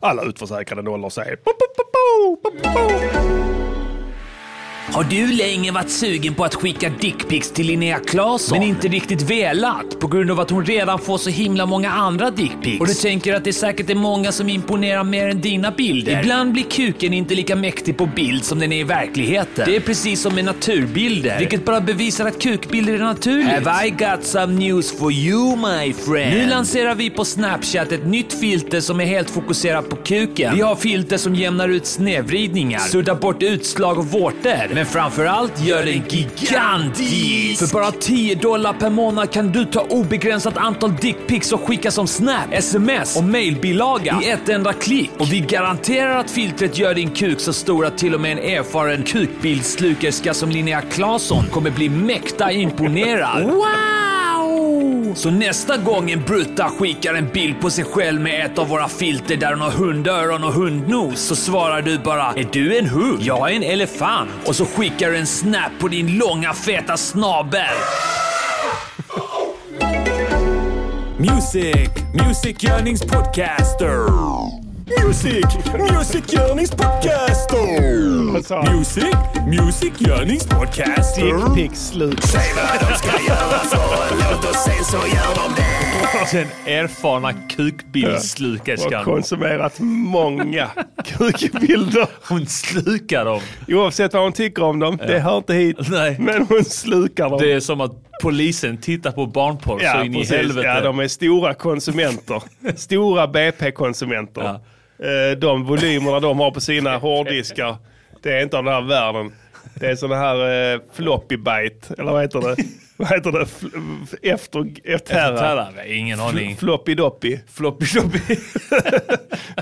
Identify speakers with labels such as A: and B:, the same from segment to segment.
A: Alla utförsäkrade nollor säger po, po, po, po, po, po.
B: Har du länge varit sugen på att skicka dickpics till Linnea Claesson? Men inte riktigt velat på grund av att hon redan får så himla många andra dickpics. Och du tänker att det säkert är många som imponerar mer än dina bilder. Ibland blir kuken inte lika mäktig på bild som den är i verkligheten. Det är precis som med naturbilder. Vilket bara bevisar att kukbilder är naturligt. Have I got some news for you my friend? Nu lanserar vi på Snapchat ett nytt filter som är helt fokuserat på kuken. Vi har filter som jämnar ut snedvridningar, suddar bort utslag och vårtor. Men framförallt gör den gigantisk! För bara 10 dollar per månad kan du ta obegränsat antal dickpics och skicka som snap, sms och mailbilaga i ett enda klick. Och vi garanterar att filtret gör din kuk så stor att till och med en erfaren kukbildslukerska som Linnea Claesson kommer bli mäkta imponerad. Wow! Oh. Så nästa gång en brutta skickar en bild på sig själv med ett av våra filter där hon har hundöron och hundnos så svarar du bara “Är du en hund?” “Jag är en elefant” och så skickar du en snap på din långa feta snabel.
C: Music, musikgörningspodcaster. Music, musikgörningspodcaster.
A: Vad sa han?
C: Music, musikgörningspodcaster.
A: Dickpics slut.
C: Säg vad de ska göra för en låt och sen så gör de det.
D: Den alltså erfarna kukbildsslukerskan.
A: Och konsumerat många kukbilder.
D: Hon slukar dem.
A: Oavsett vad hon tycker om dem, det hör inte hit.
D: Nej.
A: Men hon slukar dem.
D: Det är som att polisen tittar på barnporr så in
A: precis.
D: i helvete.
A: Ja, de är stora konsumenter. stora BP-konsumenter.
D: Ja.
A: Eh, De volymerna de har på sina hårddiskar, det är inte av den här världen. Det är sådana här eh, floppy byte, eller vad heter det? Vad heter det? Fl- f- Efter, eftertärra.
D: Tärra? Ingen aning.
A: Floppy doppy.
D: Floppy floppy.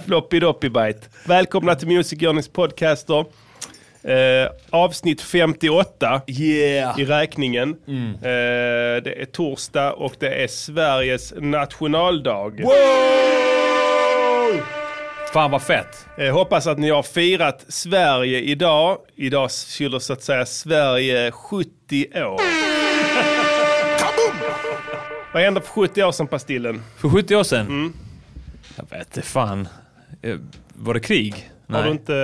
A: Floppy doppy byte. Välkomna till Music Journeys podcaster. Eh, avsnitt 58
D: Yeah.
A: i räkningen. Eh, det är torsdag och det är Sveriges nationaldag.
D: Fan vad fett.
A: Eh, hoppas att ni har firat Sverige idag. Idag fyller så att säga Sverige 70 år. Vad hände för 70 år sedan Pastillen?
D: För 70 år sedan?
A: Mm.
D: Jag vet inte fan. Eh, Var det krig?
A: Har du
D: Nej.
A: inte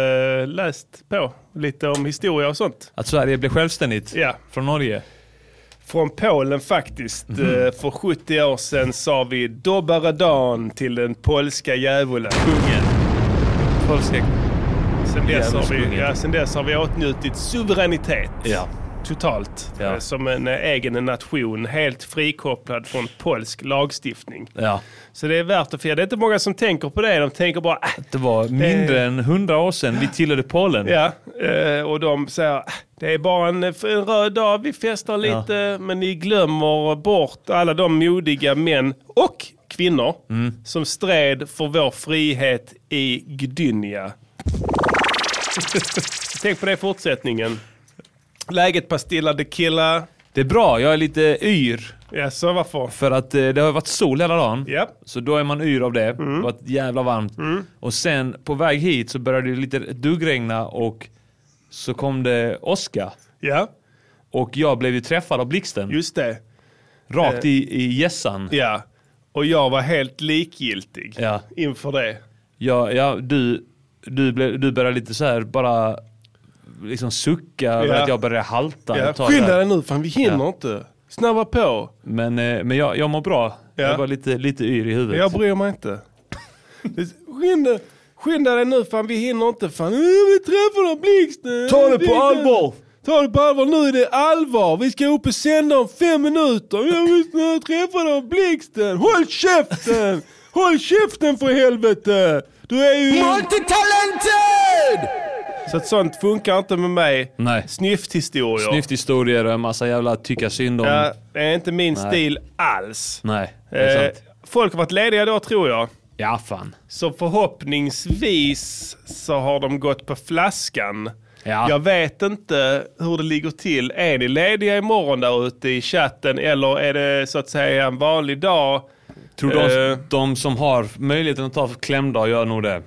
A: eh, läst på lite om historia och sånt?
D: Att Sverige blev självständigt?
A: Ja.
D: Från Norge?
A: Från Polen faktiskt.
D: Mhm.
A: Eh, För 70 år sedan sa vi Dobbare dan till den polska djävulen.
D: Kungen. Polska...
A: Sen dess, har vi,
D: Djävulskungen.
A: ja, sen dess har vi åtnjutit suveränitet.
D: Ja.
A: Totalt.
D: Ja.
A: Eh, Som en eh, egen nation, helt frikopplad från polsk lagstiftning.
D: Ja.
A: Så det är värt att fira. Det är inte många som tänker på det. De tänker bara, ah,
D: Det var mindre än 100 år sedan vi tillhörde Polen.
A: ja. Eh, Och de säger, ah, det är bara en, en röd dag, vi festar lite. Men ni glömmer bort alla de modiga män och kvinnor
D: Mm.
A: som stred för vår frihet i Gdynia. Tänk på det i fortsättningen. Läget Pastilla de Killa.
D: Det är bra, jag är lite yr.
A: Ja, så varför?
D: För att eh, det har varit sol hela dagen.
A: Ja. Mm.
D: Så då är man yr av det. Det har varit jävla varmt. Och sen på väg hit så började det lite duggregna och så kom det åska.
A: Ja,
D: Och jag blev ju träffad av blixten.
A: just det.
D: Rakt i, i hjässan.
A: Ja. Och jag var helt likgiltig
D: Ja.
A: inför det.
D: Ja, ja, du, du, blev, du började lite så här bara liksom sucka över
A: Ja.
D: att jag började halta.
A: Ja.
D: ett tag
A: Skynda
D: där.
A: dig nu, fan vi hinner inte. Snabba på.
D: Men, eh, men jag, jag mår bra.
A: Ja.
D: Jag var lite, lite yr i huvudet.
A: Jag bryr mig inte. Skynda, skynda dig nu, fan vi hinner inte. Fan, äh, vi träffar den blixten. Blixten. Ta det på allvar, nu är det allvar. Vi ska upp och sända om fem minuter. Jag vill träffa dem, blixten. Håll käften! Håll käften för helvete! Du är ju...
C: Multitalented!
A: Så att sånt funkar inte med mig.
D: Nej.
A: Snyfthistorier.
D: Snyfthistorier och en massa jävla tycka synd om.
A: Ja, det är inte min
D: Nej.
A: stil alls.
D: Nej, det är
A: Eh,
D: sant.
A: folk har varit lediga då tror jag.
D: Ja, fan.
A: Så förhoppningsvis så har de gått på flaskan.
D: Ja.
A: Jag vet inte hur det ligger till. Är ni lediga imorgon där ute i chatten eller är det så att säga en vanlig dag?
D: Tror de,
A: Eh.
D: de som har möjligheten att ta klämdag gör nog det.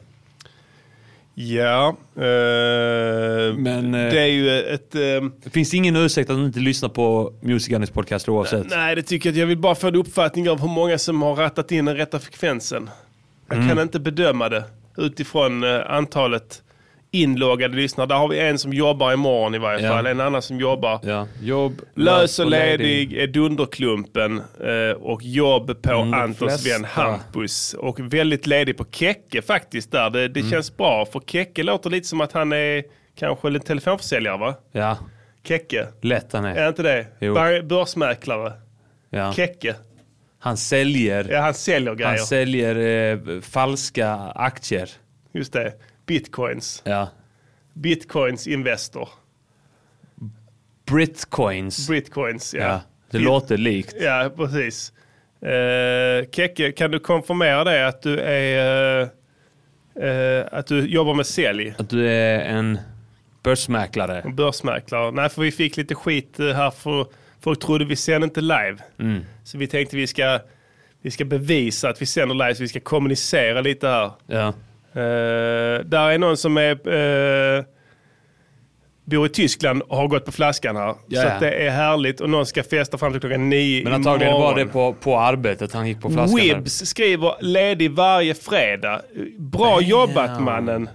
A: Ja, eh,
D: Men eh,
A: det är
D: det...
A: ju ett... eh,
D: finns ingen ursäkt att inte lyssna på Music Annis podcast oavsett.
A: nej, det tycker jag att jag vill
D: Mm.
A: bara få en uppfattning av hur många som har rattat in den rätta frekvensen. Jag kan inte bedöma det. utifrån eh, antalet inloggade lyssnare. Där har vi en som jobbar imorgon i varje
D: Ja.
A: fall, en annan som jobbar.
D: Ja. Jobb,
A: Lös och ledig är Dunderklumpen eh, och jobb på
D: Mm, de
A: Antons
D: flesta.
A: vän Hampus. Och väldigt ledig på Kekke faktiskt där. Det,
D: Mm.
A: det känns bra för Kekke låter lite som att han är kanske en telefonförsäljare va?
D: Ja,
A: Kekke,
D: lätt han är.
A: är inte det?
D: Jo.
A: Bör- Börsmäklare,
D: Ja.
A: Kekke.
D: Han säljer,
A: Ja, han säljer grejer,
D: han säljer eh, falska aktier.
A: just det. Bitcoins,
D: Ja.
A: bitcoins investor,
D: Britcoins.
A: bitcoins ja.
D: ja. Det
A: Bit-
D: låter likt.
A: Ja, precis. Uh, Kekke, kan du konfirmera det att du är eh, eh, att du jobbar med sälj?
D: Att du är en börsmäklare.
A: Börsmäklare. Nej, för vi fick lite skit eh, här för folk trodde vi sänder inte live.
D: Mm.
A: Så vi tänkte vi ska, vi ska bevisa att vi sänder live, så vi ska kommunicera lite här.
D: Ja.
A: Eh, där är någon som är, eh, bor i Tyskland och har gått på flaskan här.
D: Ja,
A: Så
D: ja.
A: att det är härligt och någon ska festa fram till klockan nio
D: Men antagligen var det
A: imorgon.
D: på, på arbetet han gick på flaskan. där.
A: Wibs skriver ledig varje fredag. Bra jobbat mannen.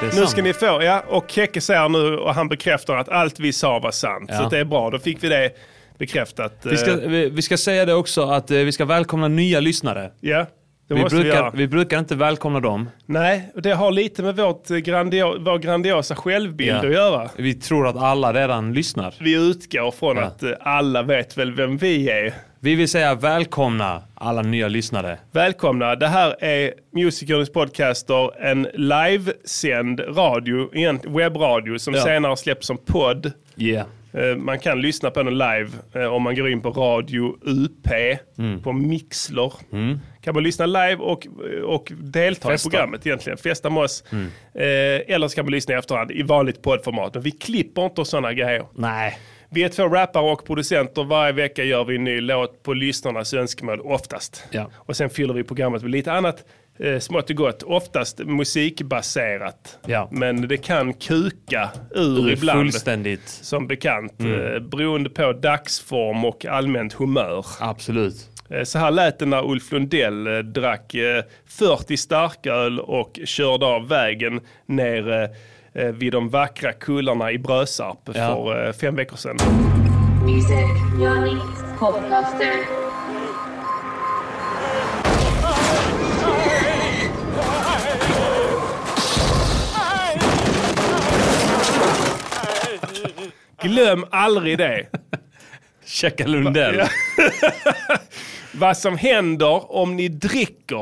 D: Det är
A: Nu ska
D: sant.
A: ni få, ja. Och Kekke säger nu och han bekräftar att allt vi sa var sant.
D: Ja.
A: Så att det är bra, då fick vi det bekräftat.
D: vi, ska,
A: Eh,
D: vi, vi ska säga det också att eh, vi ska välkomna nya lyssnare.
A: Ja, det
D: Vi
A: måste vi göra.
D: brukar, vi brukar inte välkomna dem.
A: Nej, och det har lite med vårt eh, grandio, vår grandiosa självbild
D: Ja.
A: att göra.
D: Vi tror att alla redan lyssnar.
A: Vi utgår från
D: Ja.
A: att eh, alla vet väl vem vi är.
D: Vi vill säga välkomna alla nya lyssnare.
A: Välkomna, det här är Musikerns podcaster, en livesänd radio, egent- webbradio som
D: Ja.
A: senare släpps som podd.
D: Yeah.
A: Eh, Man kan lyssna på den live eh, om man går in på Radio UP
D: Mm.
A: på Mixler. Kan man lyssna live och, och delta
D: Festa. Mm.
A: i programmet egentligen, festa med oss. Eh, Eller så kan man lyssna i efterhand i vanligt poddformat. Men vi klipper inte och sådana grejer.
D: Nej.
A: Vi är två rappare och producenter. Varje vecka gör vi en ny låt på lyssnarnas önskemål oftast.
D: Ja.
A: Och sen fyller vi programmet med lite annat eh, smått och gott. Oftast musikbaserat.
D: Ja.
A: Men det kan kuka ur ibland.
D: Fullständigt.
A: Som bekant. Eh, beroende på dagsform och allmänt humör.
D: Absolut.
A: Eh, så här lät det när Ulf Lundell eh, drack eh, 40 starköl och körde av vägen ner eh, eh, vid de vackra kullarna i Brösarp
D: Ja.
A: för eh, fem veckor sedan.
E: Music, Yanni, podcaster.
A: Glöm aldrig det.
D: Checka Lundell.
A: Ja. Vad som händer om ni dricker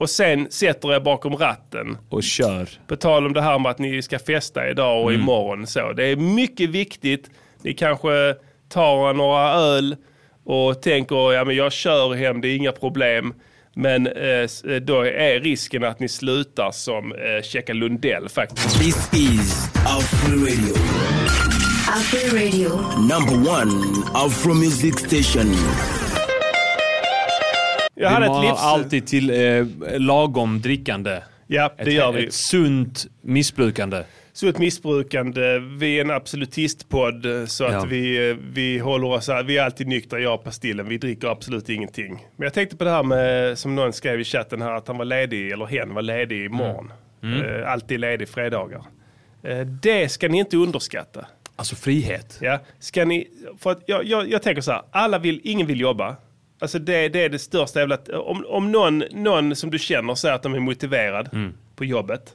A: och sen sätter er bakom ratten.
D: Och kör.
A: På tal om det här med att ni ska festa idag
D: Mm.
A: och imorgon. Så. Det är mycket viktigt. Ni kanske tar några öl och tänker ja men jag kör hem, det är inga problem. Men eh, s- då är risken att ni slutar som eh, Checka Lundell faktiskt.
C: This is Afro Radio.
E: After radio.
C: Number one Afro Music Station.
A: Jag hade
D: vi
A: ett
D: manar
A: livs...
D: alltid till eh, lagom drickande.
A: Ja, det gör vi.
D: Ett sunt missbrukande.
A: Så ett missbrukande. Vi är en absolutistpodd så att
D: Ja.
A: vi, vi håller oss, vi är alltid nyktra, jag och Pastillen. Vi dricker absolut ingenting. Men jag tänkte på det här med, som någon skrev i chatten här, att han var ledig, eller hen var ledig imorgon. Eh, alltid ledig fredagar. Eh, det ska ni inte underskatta.
D: Alltså frihet.
A: Ja? Ska ni, för att jag, jag, jag tänker så här, alla vill, ingen vill jobba. Alltså det, det är det största jävla... Om, om någon, någon som du känner säger att de är motiverad på jobbet,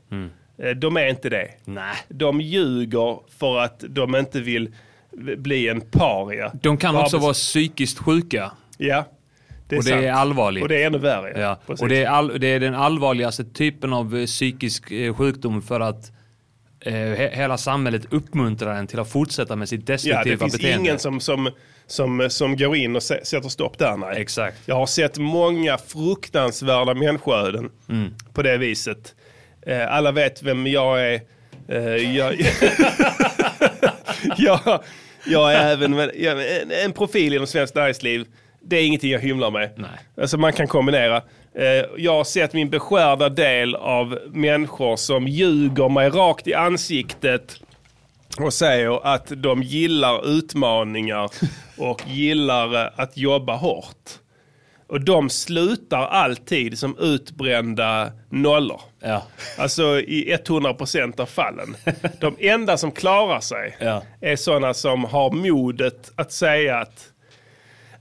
A: eh, de är inte det.
D: Nej.
A: De ljuger för att de inte vill bli en paria.
D: De kan
A: På
D: också
A: arbets-
D: vara psykiskt sjuka.
A: Ja, det är,
D: Och det
A: sant.
D: är allvarligt.
A: Och det är ännu värre.
D: Ja.
A: Precis.
D: Och det är, all, det är den allvarligaste typen av eh, psykisk eh, sjukdom för att eh, he, hela samhället uppmuntrar en till att fortsätta med sitt destruktiva
A: Ja, det finns
D: beteende.
A: ingen som, som, som, som går in och sä- sätter stopp där. Nej.
D: Exakt.
A: Jag har sett många fruktansvärda människoöden
D: Mm.
A: på det viset. Eh, Alla vet vem jag är. Eh, Jag, jag, jag är även jag är en, en profil inom svenskt näringsliv. Det är ingenting jag hymlar med.
D: Nej.
A: Alltså man kan kombinera. Eh, Jag har sett min beskärda del av människor som ljuger mig rakt i ansiktet och säger att de gillar utmaningar och gillar eh, att jobba hårt. Och de slutar alltid som utbrända nollor.
D: Ja.
A: Alltså i 100% av fallen. De enda som klarar sig
D: Ja.
A: är sådana som har modet att säga att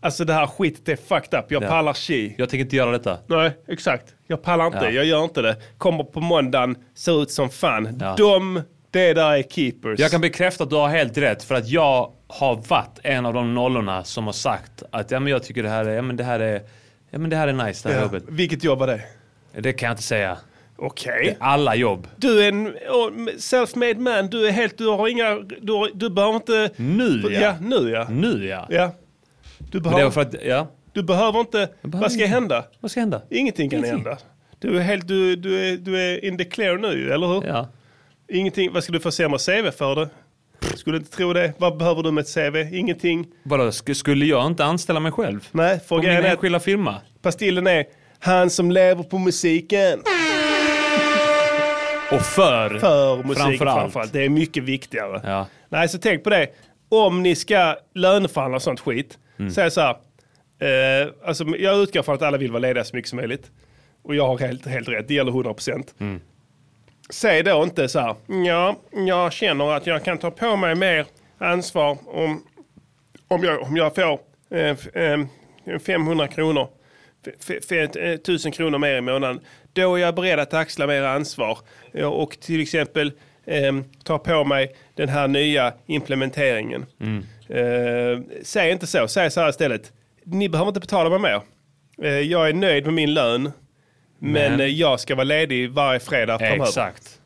A: alltså det här skitet är fucked up, jag
D: Ja.
A: pallar chi.
D: Jag tänker inte göra detta.
A: Nej, exakt. Jag pallar inte,
D: Ja.
A: jag gör inte det. Kommer på måndagen, ser ut som fan.
D: Ja.
A: De, det där är keepers.
D: Jag kan bekräfta att du har helt rätt för att jag har varit en av de nollorna som har sagt att ja, men jag tycker det här är, ja, men det här är, ja, men det här är nice det här
A: Ja.
D: jobbet.
A: Vilket jobb var det?
D: Det kan jag inte säga.
A: Okej.
D: Alla jobb.
A: Du är en åh, self-made man, du är helt, du har inga, du, har, du behöver inte...
D: Nu ja.
A: Ja, nu ja.
D: Nu ja.
A: ja. Du,
D: Men det var
A: behöver,
D: för att, ja.
A: du behöver inte,
D: behöver
A: vad ska
D: inte.
A: hända?
D: Vad ska hända?
A: Ingenting kan
D: Ingenting.
A: hända. Du är, helt, du, du, är, du är in the clear nu, eller hur?
D: Ja.
A: Ingenting, vad ska du få sämre CV för det? Skulle inte tro det. Vad behöver du med ett CV? Ingenting.
D: Vadå, sk- skulle jag inte anställa mig själv?
A: Nej,
D: På min
A: frågan är,
D: enskilda firma?
A: pastillen är han som lever på musiken.
D: Och för,
A: För musik
D: framförallt.
A: framförallt. framförallt. Det är mycket viktigare.
D: Ja.
A: Nej, så tänk på det. Om ni ska löneförhandla och sånt skit,
D: Mm.
A: säg så här. Eh, alltså, jag utgår från att alla vill vara lediga så mycket som möjligt. Och jag har helt, helt rätt, det gäller 100%.
D: Mm.
A: Säg då inte så här, ja, jag känner att jag kan ta på mig mer ansvar om, om, jag, om jag får eh, f- eh, 500 kronor, f- f- f- eh, 1000 kronor mer i månaden. Då är jag beredd att axla mer ansvar Ja, och till exempel eh, ta på mig den här nya implementeringen.
D: Mm.
A: Eh, säg inte så, säg så här istället. Ni behöver inte betala mig mer. Eh, jag är nöjd med min lön. Men,
D: Men-
A: eh, jag ska vara ledig varje fredag framöver.
D: Exakt.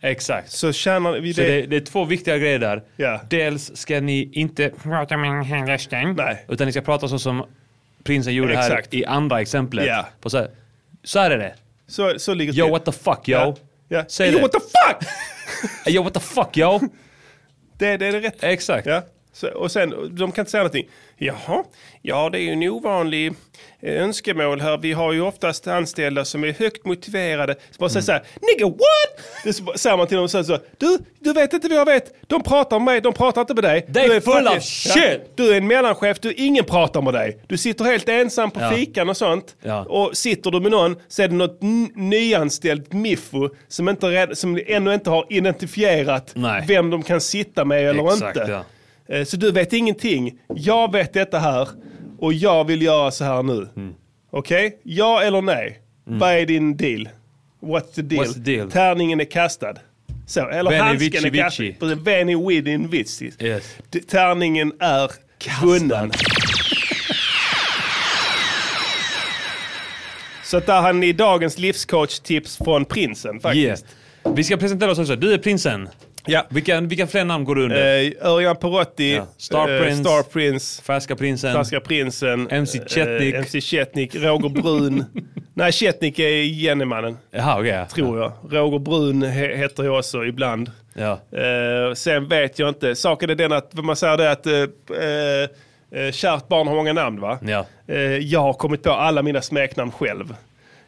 D: Exakt.
A: Så tjänar vi
D: Så
A: det.
D: det, det är två viktiga grejer där.
A: Ja.
D: Dels ska ni inte prata med den här rösten.
A: Nej.
D: Utan ni ska prata så som prinsen gjorde
A: Exakt.
D: här i andra exemplet.
A: Ja.
D: På så, här, så här är det.
A: Så, så ligger
D: Yo
A: till.
D: what the fuck yo.
A: Ja. Ja.
D: Säg
A: Yo
D: det.
A: what the fuck!
D: Yo what the fuck yo.
A: det, det är det rätt.
D: Exakt.
A: Ja. Så, och sen, de kan inte säga någonting. Jaha, ja det är ju en ovanlig eh, önskemål här. Vi har ju oftast anställda som är högt motiverade. Så bara säger
D: Mm.
A: så här, nigga what? Det så, säger man till dem så, här, så du, du vet inte vad jag vet. De pratar om mig, de pratar inte med dig.
D: They
A: Du är
D: full
A: fucking-
D: of shit.
A: du är en mellanchef, du, ingen pratar med dig. Du sitter helt ensam på
D: Ja.
A: fikan och sånt.
D: Ja.
A: Och sitter du med någon så är det något n- nyanställt miffo som, inte, red- som ännu inte har identifierat
D: Nej.
A: vem de kan sitta med eller
D: Exakt,
A: inte. Eh, Så du vet ingenting. Jag vet detta här och jag vill göra så här nu.
D: Mm.
A: Okej? Ja eller nej? Vad är din deal? What's the deal?
D: What's the deal?
A: Tärningen är kastad. Så, eller
D: Veni,
A: handsken
D: vici,
A: är kastad.
D: vici.
A: Precis, Veni, within, vici.
D: Yes.
A: D- Tärningen är vunnen. Så att där har ni dagens livscoach-tips från prinsen faktiskt.
D: Yeah. Vi ska presentera oss också. Du är prinsen.
A: Ja.
D: Vilka, vilka fler namn går du under?
A: Eh, Örjan Perotti,
D: Ja. Star
A: eh,
D: Prince.
A: Star Prince
D: Färska prinsen.
A: Färska prinsen.
D: MC Chetnik.
A: eh, MC Chetnik, Roger Brun. Nej, Chetnik är Jennemannen,
D: Jaha, okej. ja.
A: tror jag. Roger Brun he- heter jag också ibland.
D: Ja.
A: Eh, sen vet jag inte. Saken är den att man säger det att eh, eh, kärt barn har många namn va?
D: Ja.
A: Eh, jag har kommit på alla mina smeknamn själv.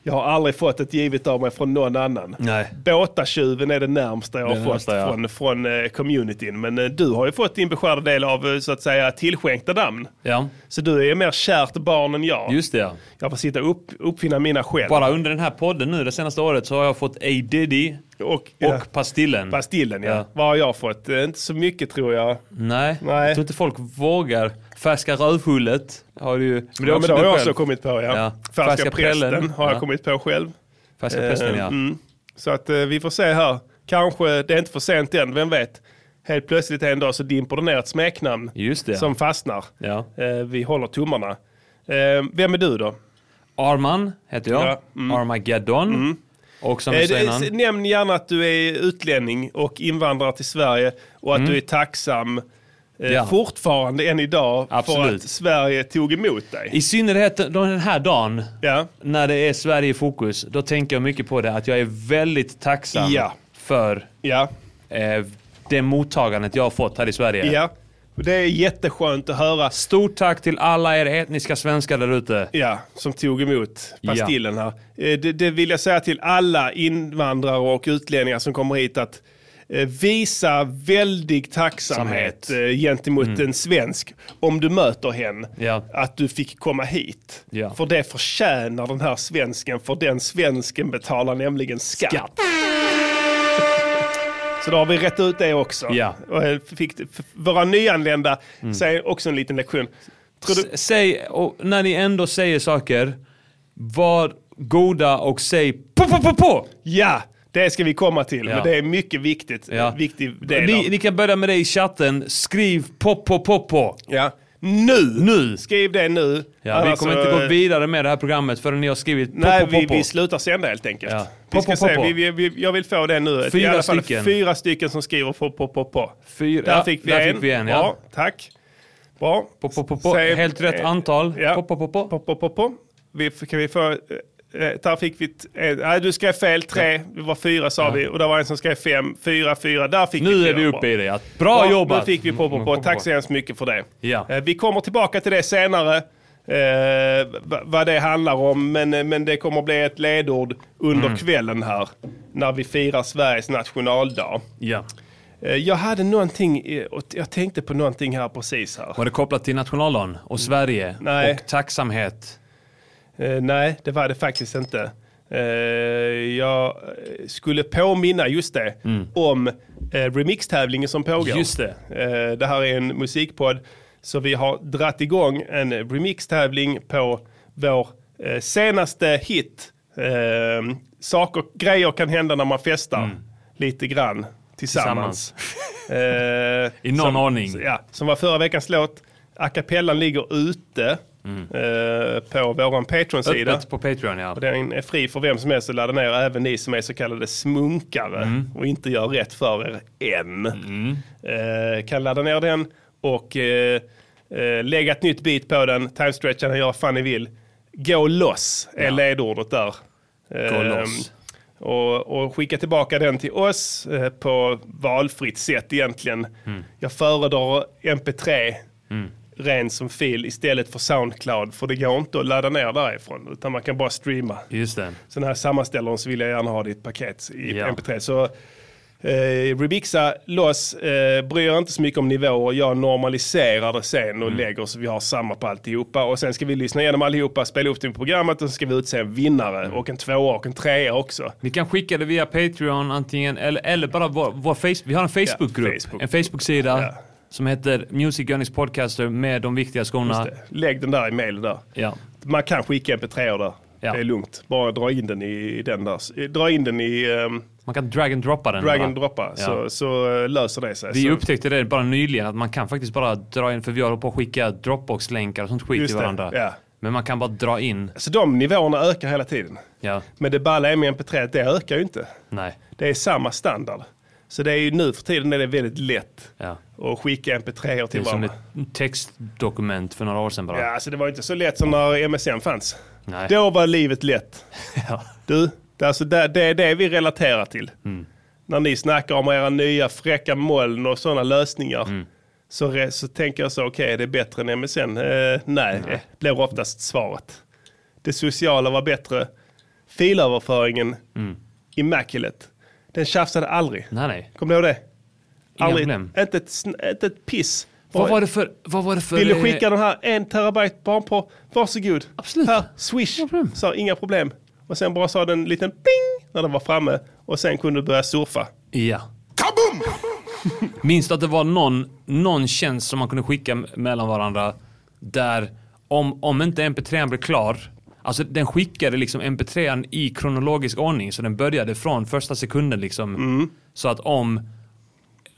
A: Jag har aldrig fått ett givet av mig från någon annan.
D: Nej.
A: Båtatjuven är det närmsta jag har
D: Det
A: fått
D: närmsta, ja.
A: från, från eh, communityn. Men eh, du har ju fått din beskärda del av eh, så att säga tillskänkta namn.
D: ja.
A: Så du är mer kärt barn än jag.
D: Just det ja.
A: Jag får sitta och upp, uppfinna mina själv.
D: Bara under den här podden nu det senaste året så har jag fått A Diddy
A: Och,
D: och
A: ja,
D: Pastillen.
A: Bastillen ja.
D: Ja.
A: Vad har jag fått? Eh, Inte så mycket tror jag.
D: Nej,
A: Nej.
D: jag tror inte folk vågar. Färska rövhullet har du ju. Men det är
A: Ja, men
D: också
A: det har
D: du
A: jag
D: själv.
A: också kommit på ja.
D: Ja.
A: Färska,
D: Färska
A: prästen
D: prällen.
A: har jag
D: Ja.
A: kommit på själv.
D: Färska prästen ja.
A: Eh, mm. Så att eh, vi får se här. Kanske det är inte för sent än, vem vet. Helt plötsligt en dag så dimper det ner ett smeknamn
D: Just det.
A: som fastnar.
D: Ja.
A: Eh, vi håller tummarna. Eh, vem är du då?
D: Arman heter jag.
A: Ja,
D: Armageddon. Och som
A: Eh,
D: du
A: det-
D: säger innan.
A: s- Nämn gärna att du är utlänning och invandrar till Sverige och att du är tacksam eh,
D: Mm. Ja.
A: fortfarande än idag för
D: Absolut.
A: att Sverige tog emot dig.
D: I synnerhet då den här dagen.
A: Ja.
D: När det är Sverige i fokus. Då tänker jag mycket på det. Att jag är väldigt tacksam
A: Ja.
D: för
A: Ja.
D: eh, det mottagandet jag har fått här i Sverige.
A: ja, det är jätteskönt att höra.
D: Stort tack till alla er etniska svenskar där ute.
A: Ja, som tog emot pastillen här. Eh, Det, det vill jag säga till alla invandrare och utlänningar som kommer hit att eh, visa väldig tacksamhet
D: Samhet. Mm.
A: eh, gentemot en svensk om du möter henne.
D: Ja.
A: Att du fick komma hit.
D: Ja.
A: För det förtjänar den här svensken, för den svensken betalar nämligen skatt.
D: Skatt.
A: Så då har vi rätt ut det också.
D: Ja. Mm.
A: Och eh, fick, f- våra nyanlända säger också en liten lektion. Tror du,
D: S- Säg, och när ni ändå säger saker, var goda och säg på, på, på, på!
A: ja, det ska vi komma till,
D: Ja.
A: men det är mycket viktigt.
D: Ja.
A: viktig del
D: Ni,
A: av-
D: ni kan börja med det i chatten, skriv på, på, på, på.
A: Ja. Nu!
D: Nu!
A: Skriv det nu.
D: Ja, vi
A: Annars
D: kommer
A: så,
D: inte gå
A: eh,
D: vidare med det här programmet förrän ni har skrivit på,
A: Nej,
D: på, på,
A: vi,
D: på.
A: vi slutar sända helt enkelt.
D: Ja.
A: Vi ska
D: Pop, pop,
A: se,
D: pop.
A: vi, vi, vi, jag vill få det nu. I
D: Fyra
A: alla fall
D: stycken.
A: Fyra stycken som skriver på, på, på, på.
D: Fyra-
A: Där
D: ja,
A: fick vi
D: där
A: en.
D: fick vi en, ja.
A: Bra, tack. Bra.
D: på, på, på, på.
A: Säg-
D: Helt rätt
A: eh,
D: antal.
A: Ja.
D: På, på, på, på.
A: Pop, pop, pop, pop. Vi, f- kan vi få... eh, eh, Där fick vi... t- eh, Nej, du skrev fel. Tre. Det var fyra sa vi. Och det var en som skrev fem. Fyra, fyra. Där fick vi
D: Nu är
A: fyra.
D: vi
A: Bra.
D: uppe i det. ja. Bra
A: Ja,
D: jobbat!
A: Nu fick vi på, på, på. Tack så hemskt mycket för det.
D: Ja.
A: Eh, Vi kommer tillbaka till det senare, eh, va- vad det handlar om. Men, eh, men det kommer bli ett ledord under kvällen här, när vi firar Sveriges nationaldag.
D: Ja.
A: Eh, jag hade någonting, eh, och t- jag tänkte på någonting här precis här.
D: Var det kopplat till nationaldagen och Sverige
A: Nej.
D: och tacksamhet?
A: Eh, nej, det var det faktiskt inte. Eh, jag eh, skulle påminna, just det, om eh, remixtävlingen som pågår.
D: Mm. Just det.
A: Eh, det här är en musikpodd, så vi har dratt igång en remixtävling på vår eh, senaste hit. Eh, saker, grejer kan hända när man festar
D: Mm.
A: lite grann tillsammans. Eh,
D: I någon
A: som,
D: ordning.
A: Ja, som var förra veckans låt. A cappellan ligger ute eh, på vår Patreon-sida.
D: Öppet på Patreon ja.
A: Och Den är fri för vem som helst att ladda ner, även ni som är så kallade smunkare och inte gör rätt för er än. Eh, kan ladda ner den och eh, eh, lägga ett nytt bit på den, timestretchen och göra vad fan ni vill. Gå loss är ledordet där.
D: Gå
A: Ehm,
D: loss.
A: Och, och skicka tillbaka den till oss eh, på valfritt sätt egentligen.
D: Mm.
A: Jag föredrar MP3 ren som fil istället för Soundcloud för det går inte att ladda ner därifrån utan man kan bara streama.
D: Just det.
A: Så när jag sammanställer dem så vill jag gärna ha ditt paket i
D: Ja.
A: MP3. Så eh, remixa loss, eh, bryr jag inte så mycket om nivåer. Jag normaliserar det sen och
D: Mm.
A: lägger så vi har samma på alltihopa. Och sen ska vi lyssna igenom allihopa, spela upp det i programmet och så ska vi utse en vinnare
D: Mm.
A: och en tvåa och en trea också.
D: Ni kan skicka det via Patreon antingen eller, eller bara vår, vår Facebook. Vi har en Facebookgrupp.
A: Facebook.
D: En Facebook-sida
A: Ja.
D: som heter Music Gunnings Podcaster med de viktiga skorna.
A: Lägg den där i mailen där.
D: Ja.
A: Man kan skicka MP3 där.
D: Ja.
A: Det är lugnt. Bara dra in den i den där. Dra in den i ehm,
D: Man kan drag and droppa den.
A: drag
D: bara.
A: and droppa
D: Ja.
A: så, så eh, löser det sig.
D: Vi
A: så.
D: upptäckte det bara nyligen att man kan faktiskt bara dra in, för vi håller på att skicka Dropbox-länkar och sånt skit
A: Just
D: till
A: det,
D: varandra.
A: ja.
D: Men man kan bara dra in.
A: så de nivåerna ökar hela tiden.
D: Ja,
A: Men det balla är med MP3 att det ökar ju inte.
D: nej.
A: Det är samma standard. Så det är ju nu för tiden är det väldigt lätt
D: Ja.
A: att skicka MP3
D: Det
A: till
D: är som
A: varandra.
D: ett textdokument för några år sedan bara.
A: Ja, alltså det var inte så lätt som när MSN fanns.
D: Nej.
A: Då var livet lätt.
D: Ja.
A: Du, det är, alltså det, det, är det vi relaterar till.
D: Mm.
A: När ni snackar om era nya fräcka moln och sådana lösningar.
D: Mm.
A: Så, re, så tänker jag så, okej, är det är bättre än MSN? Eh, nej, nej, blir oftast svaret. Det sociala var bättre. Filöverföringen,
D: Mm.
A: immaculate. Den tjafsade aldrig.
D: Nej, nej.
A: Kommer du ihåg det?
D: Inga
A: Aldrig,
D: problem.
A: inte, ett, sn- inte ett piss.
D: Vad var det för... Vad var det för
A: Vill
D: eh,
A: du skicka den här en terabyte barnporr? Varsågod.
D: Absolut.
A: Här, swish.
D: problem.
A: Sa inga problem. Och sen bara sa den en liten ping när den var framme. Och sen kunde du börja surfa.
D: Ja. Kaboom! Minns du att det var någon, någon tjänst som man kunde skicka m- mellan varandra där om, om inte mp3 blev klar, alltså den skickade liksom mp3 i kronologisk ordning så den började från första sekunden liksom.
A: Mm.
D: Så att om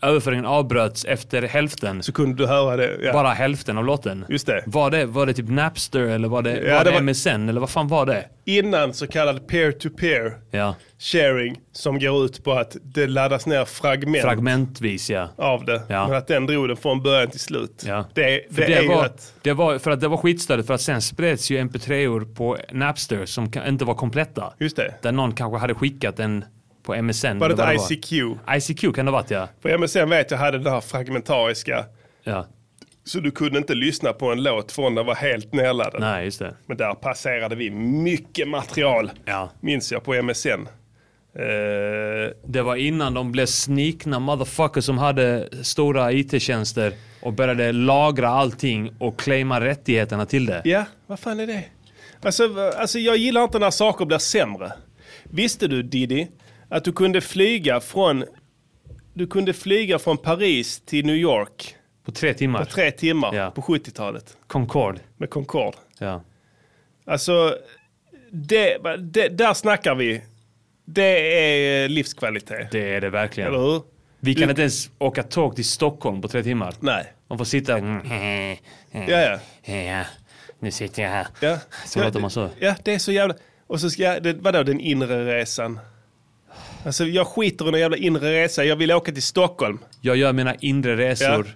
D: överföringen avbröts efter hälften,
A: Så kunde du höra det. Ja.
D: bara hälften av låten.
A: Just det.
D: Var det, var det typ Napster eller var det,
A: Ja,
D: var
A: det
D: det,
A: var-
D: MSN eller vad fan var det?
A: Innan så kallad peer-to-peer
D: Ja,
A: sharing. Som går ut på att det laddas ner fragment
D: fragmentvis ja.
A: av det.
D: Ja.
A: Men att den drog den från början till slut.
D: Ja.
A: Det, det,
D: För det,
A: är ju
D: var,
A: att...
D: det var För att det var skitstödigt för att sen spreds ju mp3or på Napster som ka- inte var kompletta.
A: Just det.
D: Där någon kanske hade skickat en på MSN.
A: Var
D: eller
A: det
D: vad
A: ett ICQ?
D: ICQ kan det ha varit ja.
A: För MSN vet jag hade det här fragmentariska.
D: ja.
A: Så du kunde inte lyssna på en låt från den var helt nedladdad.
D: Nej, just det.
A: Men där passerade vi mycket material,
D: Ja.
A: minns jag, på MSN.
D: Eh, det var innan de blev snikna motherfuckers som hade stora IT-tjänster och började lagra allting och claima rättigheterna till det.
A: Ja, vad fan är det? Alltså, v- alltså jag gillar inte när saker blir sämre. Visste du Diddy att du kunde flyga från du kunde flyga från Paris till New York
D: På tre timmar.
A: på tre timmar
D: Ja.
A: på 70-talet
D: Concorde.
A: med Concorde.
D: Ja.
A: Alltså, det, det, där snackar vi. Det är livskvalitet.
D: Det är det verkligen.
A: Eller hur?
D: Vi kan
A: Du-
D: inte ens åka tåg till Stockholm på tre timmar.
A: Nej.
D: Man får sitta... Mm. eh,
A: Ja, ja.
D: Ja, nu sitter jag här.
A: ja.
D: Så
A: ja,
D: låter man så.
A: det- Ja, det är så jävla... Och så ska jag... Det, vadå den inre resan? Alltså jag skiter i den jävla inre resan. Jag vill åka till Stockholm.
D: Jag gör mina inre resor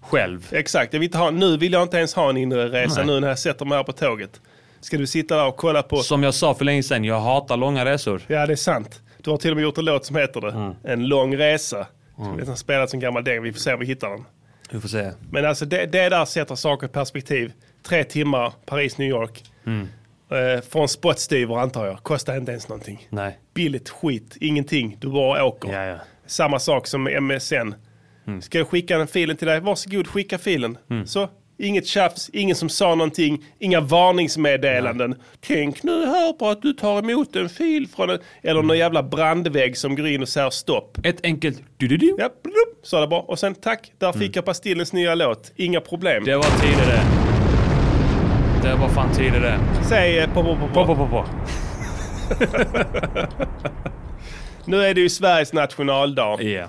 D: själv.
A: Exakt, jag vill inte ha, nu vill jag inte ens ha en inre resa
D: Nej.
A: nu när jag sätter mig här på tåget. Ska du sitta där och kolla på...
D: Som jag sa för länge sedan, jag hatar långa resor.
A: Ja, det är sant. Du har till och med gjort en låt som heter det.
D: Mm.
A: En lång resa. Som mm. spelat som gammal däng. Vi får se om vi hittar den.
D: Vi får se.
A: Men alltså det, det där sätter saker i perspektiv. Tre timmar, Paris, New York.
D: Mm.
A: Eh, från spottstyver antar jag. Kostar inte ens någonting.
D: Nej.
A: Billigt skit, ingenting. Du bara åker.
D: Ja, ja.
A: Samma sak som MSN. Ska jag skicka den filen till dig? Varsågod, skicka filen. Så, inget tjafs, ingen som sa någonting, inga varningsmeddelanden. Tänk nu här på att du tar emot en fil från en... Eller någon jävla brandvägg som går in och säger stopp.
D: Ett enkelt du, du, du.
A: Ja, blup, sa det bara. Och sen tack, där fick jag Pastillens nya låt. Inga problem.
D: Det var tider det. Det var fan tider det.
A: Säg eh, pop, pop, pop,
D: På,
A: pop.
D: på, på, på.
A: Nu är det ju Sveriges nationaldag.
D: Ja.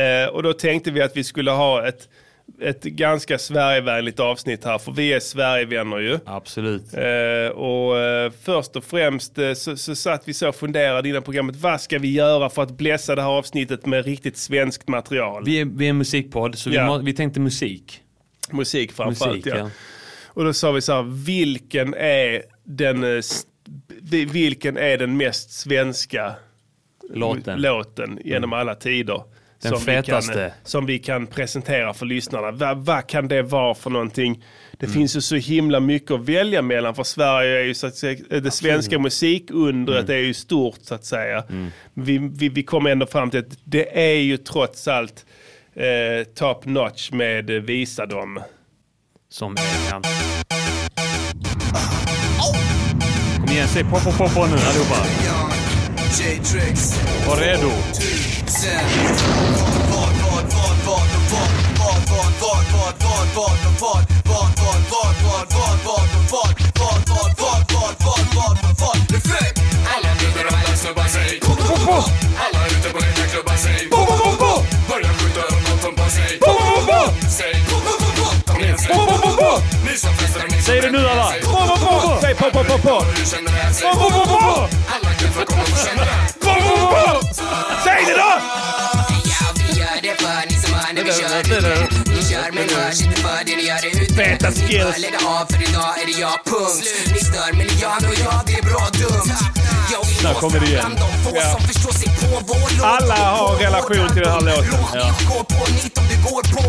A: Eh, och då tänkte vi att vi skulle ha ett, ett ganska Sverigevänligt avsnitt här. För vi är Sverigevänner ju.
D: Absolut.
A: Eh, och eh, först och främst eh, så, så satt vi så och funderade innan programmet. Vad ska vi göra för att blässa det här avsnittet med riktigt svenskt material?
D: Vi är, vi är en musikpodd, så
A: Ja.
D: vi, må, vi tänkte musik.
A: Musik framförallt
D: Musik,
A: ja.
D: ja.
A: Och då sa vi så här, vilken är den, eh, st- vi- vilken är den mest svenska
D: Låten. Mm.
A: låten genom alla tider?
D: Den
A: som Vi kan,
D: fetaste.
A: som vi kan presentera för lyssnarna. Va, vad kan det vara för någonting? Det
D: Mm.
A: finns ju så himla mycket att välja mellan för Sverige är ju så att säga, eh, det svenska musikundret
D: Mm.
A: är ju stort så att säga. Vi, vi, vi kommer ändå fram till att det är ju trots allt eh, top notch med eh, Visa dem.
D: Som... Ja. Kom igen, säg på, på, på, på nu allihopa.
F: J-Tricks,
D: Var redo.
F: sen Vad, vad, vad, vad, och vad Vad, vad, vad, vad, vad, vad, och vad Vad, vad, vad, vad, vad, vad, och vad Vad, vad, vad, vad, vad, vad, och vad Det är fett!
G: Alla brudar och alla snubbar säg
F: Bo, bo, bo, bo,
G: Alla ute på rena klubbar säg
F: bo, bo, bo, bo
G: Börja skjuta om nåt som på sig
F: Bo, bo, bo, bo
G: Säg
F: Bo, bo, bo, bo
G: Kom igen säg
F: Bo, bo, bo, bo
G: Ni som festar och ni som
D: Säg det nu,
G: väntar,
D: alla.
G: säg.
F: Bo, bo, bo, bo
A: Säg på, på, på, på!
G: Hur känner det här säg
F: Bo, bo, bo, bo
G: Alla klubbar kommer få känna
A: Säg det då!
H: Ja, vi gör det för ni som hör när vi kör ute. Ni kör men hörs inte för det ni gör det ute.
A: Feta
H: Ni bör
A: skills.
H: lägga av för idag är det jag, punkt. Ni stör men jag och jag, det är bra dumt. Jag vill
D: Där kommer det igen.
H: bland de få
A: Ja.
H: som förstår sig på vår låt.
A: Alla har en relation till den här låten.
H: Råg i gå på nit om du går på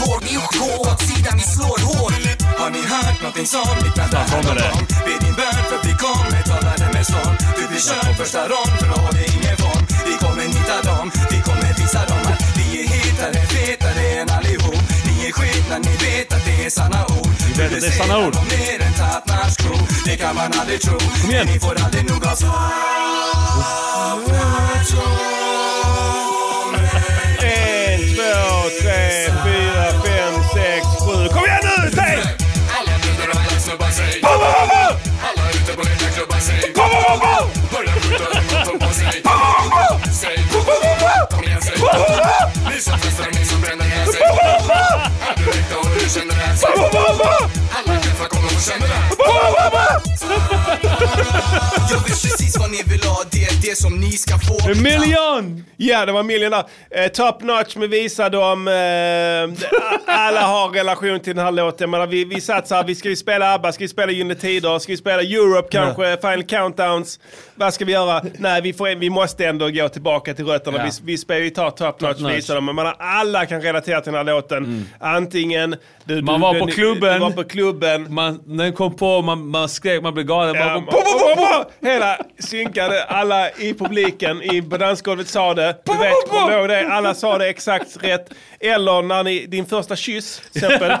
H: vår gå åt sidan vi slår hårt.
F: Har ni hört någonting som liknande
D: Där kommer det.
F: häromdagen? Vi är din värld för vi kommer ta världen med storm Du blir körd första rond för då har vi ingen form Vi kommer nita dem, vi kommer visa dem att vi är hetare, fetare än allihop Ni är skit när ni vet att det är sanna ord Vi
D: vet att det är sanna ord.
F: mer än Tatnars tro Det kan man aldrig tro Kom
D: igen.
F: Ni får aldrig nog av
A: En, två, tre, fyra, fem, sex, sju. Kom igen nu! Säg!
G: Alla brudar och alla snubbar säg
A: Bo, bo, bo, bo!
G: Alla ute på rena klubbar säg
A: Bo, bo, bo, bo!
G: Börja skjuta om nåt som på sig Säg
A: Bo, bo, bo, bo!
G: Kom igen säg
A: Bo, bo, bo!
G: Ni som festar och ni som bränner det här säg
A: Bo, bo, bo!
G: Är du äkta och hur känner det här säg
A: Bo, bo, bo!
G: Alla klubbar kommer få känna det
A: Bo, bo, bo!
F: Jag vet precis vad ni vill ha Det är det som ni ska få
D: En miljon!
A: Ja, det var Million där. Eh, top notch med Visa dem. Eh, alla har relation till den här låten. Men vi, vi satt så här, vi ska ju spela ABBA, ska vi spela Gyllene Tider, ska vi spela Europe kanske, Final Countdowns. Vad ska vi göra? Nej, vi, får, vi måste ändå gå tillbaka till rötterna.
D: Ja.
A: Vi, vi, spelar, vi tar Top Notch,
D: Notch. Mm.
A: Visa dem. Men man, alla kan relatera till den här låten. Antingen... Du,
D: Man var på
A: ni-
D: klubben.
A: Du var på klubben.
D: Man, när den kom på, man, man skrek, man blev galen.
A: Ja,
D: Man,
A: man- Hela sy- synkade. Alla i publiken i på dansgolvet sa det. Du vet, kom ihåg det. Alla sa det exakt rätt. Eller när ni, din första kyss, till exempel. Eh,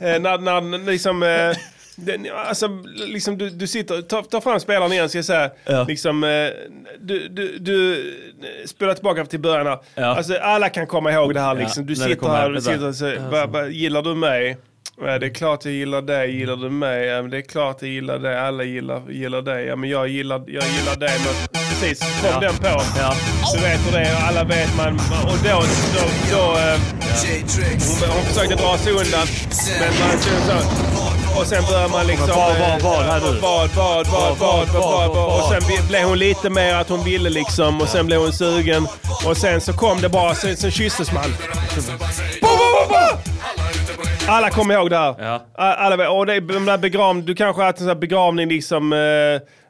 A: när, när liksom... Eh, den, alltså, liksom du, du sitter, ta, ta fram spelaren igen ska jag säga. Liksom, eh, du, du, du eh, spelar tillbaka till början här. Alltså, alla kan komma ihåg det här liksom. Du
D: när det
A: sitter
D: kommer
A: här
D: här,
A: och du
D: vänta.
A: sitter och säger, "Va- va- gillar du mig? Ja, det är klart jag gillar dig, gillar du mig? Ja, men det är klart jag gillar dig, alla gillar, gillar dig. Ja, men jag gillar, jag gillar dig. Men, precis, kom den på. Så vet du det, och alla vet man. Och då, då, då eh, hon, hon försökte dra sig undan. Men man ser så. Och sen börjar man liksom...
D: vad, vad, vad här
A: eh,
D: nu?
A: Vad, vad, vad, vad, vad, vad, vad. Och sen vi- blev hon lite mer att hon ville liksom. Och sen blev hon sugen. Och sen så kom det bara, sen, sen kysstes man. Bo, bo, bo, bo! Alla kommer ihåg det här.
D: Ja.
A: A- Alla, och det är de där begravning, du kanske har haft en sån här begravning liksom eh,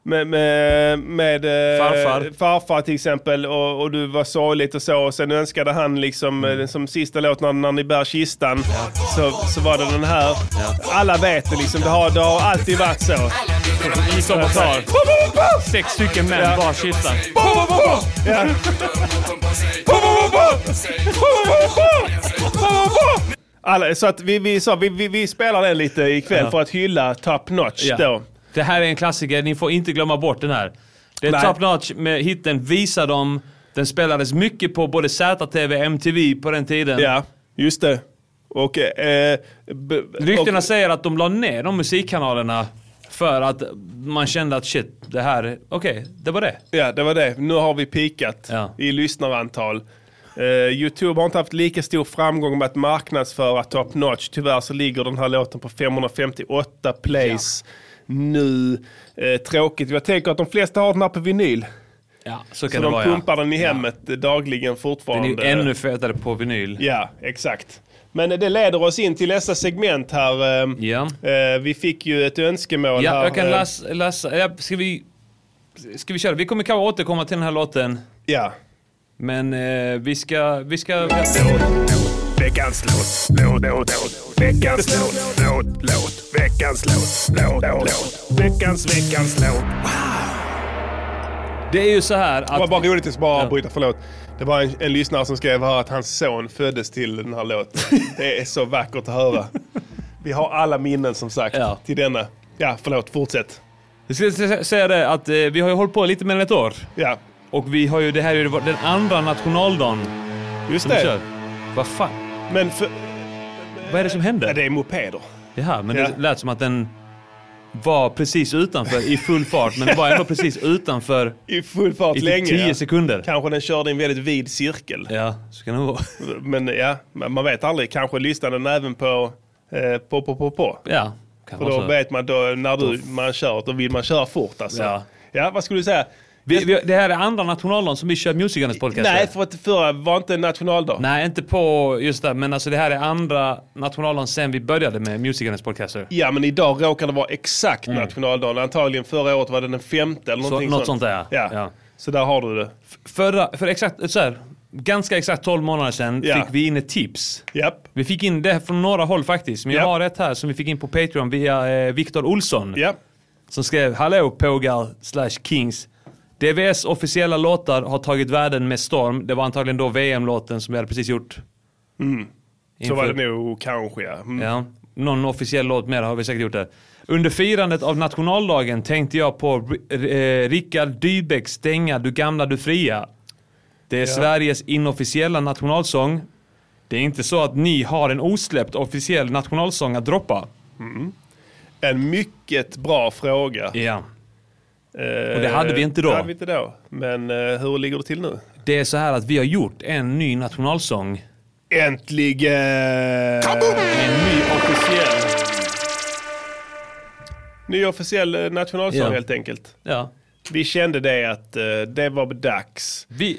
A: med, med, med eh,
D: Farfar.
A: farfar till exempel och, och du var sorgligt och så och sen önskade han liksom
D: Mm.
A: eh, som sista låt när, när ni bär kistan så, så var det den här. Alla vet det liksom, det har, det har alltid varit så.
D: I sommartal. Sex stycken män
A: Ja.
D: bar kistan.
A: Ja. Alla, så att vi, vi, så, vi, vi, vi spelar den lite ikväll för att hylla Top Notch
D: Ja. Mm.
A: då.
D: Det här är en klassiker, ni får inte glömma bort den här. Det är
A: Nej.
D: top notch med hitten Visa dem. Den spelades mycket på både ZTV och MTV på den tiden.
A: Ja, just det. Och, eh, b-
D: Ryktena
A: och,
D: säger att de la ner de musikkanalerna för att man kände att shit, det här, okej, det var det.
A: Ja, det var det. Nu har vi peakat
D: Ja.
A: i lyssnarantal. Eh, Youtube har inte haft lika stor framgång med att marknadsföra Top Notch. Tyvärr så ligger den här låten på 558 plays nu. Eh, tråkigt. Jag tänker att de flesta har den här på vinyl.
D: Ja, så
A: Så
D: kan det
A: de
D: vara ja.
A: pumpar den i hemmet eh, dagligen
D: Den är
A: fortfarande.
D: ju ännu fetare på vinyl.
A: Ja, exakt. Men eh, det leder oss in till nästa segment här. eh,
D: Ja.
A: eh, Vi fick ju ett önskemål här.
D: Ja, jag kan
A: eh,
D: läsa, läsa ja, ska vi... Ska vi köra? Vi kommer kanske återkomma till den här låten.
A: Ja.
D: Men eh, vi ska... Vi ska...
F: Veckans låt, låt, låt, låt. Veckans låt, låt, låt. Veckans låt, låt, låt. Veckans, veckans låt.
D: Det är ju så här
A: Det var
D: att...
A: bara roligt, jag ska bara avbryta, förlåt. Det var en, en lyssnare som skrev här att hans son föddes till den här låten. Det är så vackert att höra. Vi har alla minnen som sagt
D: Ja.
A: till denna. Ja, förlåt, fortsätt.
D: Jag ska sä- säga det att eh, vi har ju hållit på lite mer än ett år.
A: Ja,
D: Och vi har ju... Det här är ju den andra nationaldagen
A: just
D: som vi
A: det.
D: kör. Vad fan?
A: Men för,
D: Vad är det som
A: ja,
D: händer?
A: det är mopeder.
D: Ja, men
A: Ja.
D: det lät som att den var precis utanför i full fart. Men var ändå precis utanför
A: I full fart
D: i
A: länge.
D: typ 10
A: ja.
D: sekunder.
A: Kanske den körde i en väldigt vid cirkel.
D: Ja, så kan det vara.
A: Men ja, man man vet aldrig. Kanske lyssnade den även på eh, på, på, på, på.
D: Ja, kan
A: För
D: vara
A: då
D: så.
A: vet man, då, när du, man kör, då vill man köra fort alltså. Ja,
D: Ja.
A: vad skulle du säga?
D: Vi, vi, Alltså, det här är andra nationaldagen som vi kör Musikernas podcast.
A: Nej,
D: med.
A: för att förra var inte en nationaldag.
D: Nej, inte på just det, men alltså det här är andra nationaldagen sen vi började med Musikernas podcaster.
A: Ja, men idag råkar det vara exakt nationaldagen. Antagligen förra året var det den femte eller någonting
D: Mm. något sånt
A: sånt.
D: där,
A: ja.
D: ja.
A: Ja.
D: Ja.
A: Så där har du det.
D: Förra, för exakt, så här, ganska exakt 12 månader sedan
A: Ja.
D: fick vi in ett tips.
A: Japp,
D: Vi fick in det från några håll faktiskt, men jag
A: Ja.
D: har ett här som vi fick in på Patreon via eh, Viktor Olsson.
A: japp.
D: Som skrev “Hallå pågar slash kings”. DVS officiella låtar har tagit världen med storm. Det var antagligen då VM-låten som vi hade precis gjort.
A: Mm. Så var
D: Inför-
A: det nog kanske ja. Mm.
D: Ja, någon officiell låt mer har vi säkert gjort det. Under firandet av nationaldagen tänkte jag på R- eh, Rickard Dybecks dänga Du gamla du fria. Det är Sveriges inofficiella nationalsång. Det är inte så att ni har en osläppt officiell nationalsång att droppa.
A: En mycket bra fråga. Eh,
D: Ja. Och det hade vi inte då.
A: Det hade vi inte då. Men eh, hur ligger det till nu?
D: Det är så här att vi har gjort en ny nationalsång.
A: Äntligen!
D: En ny officiell.
A: Ny officiell eh, nationalsång
D: Ja.
A: helt enkelt.
D: Ja.
A: Vi kände det att eh, det var dags.
D: Vi,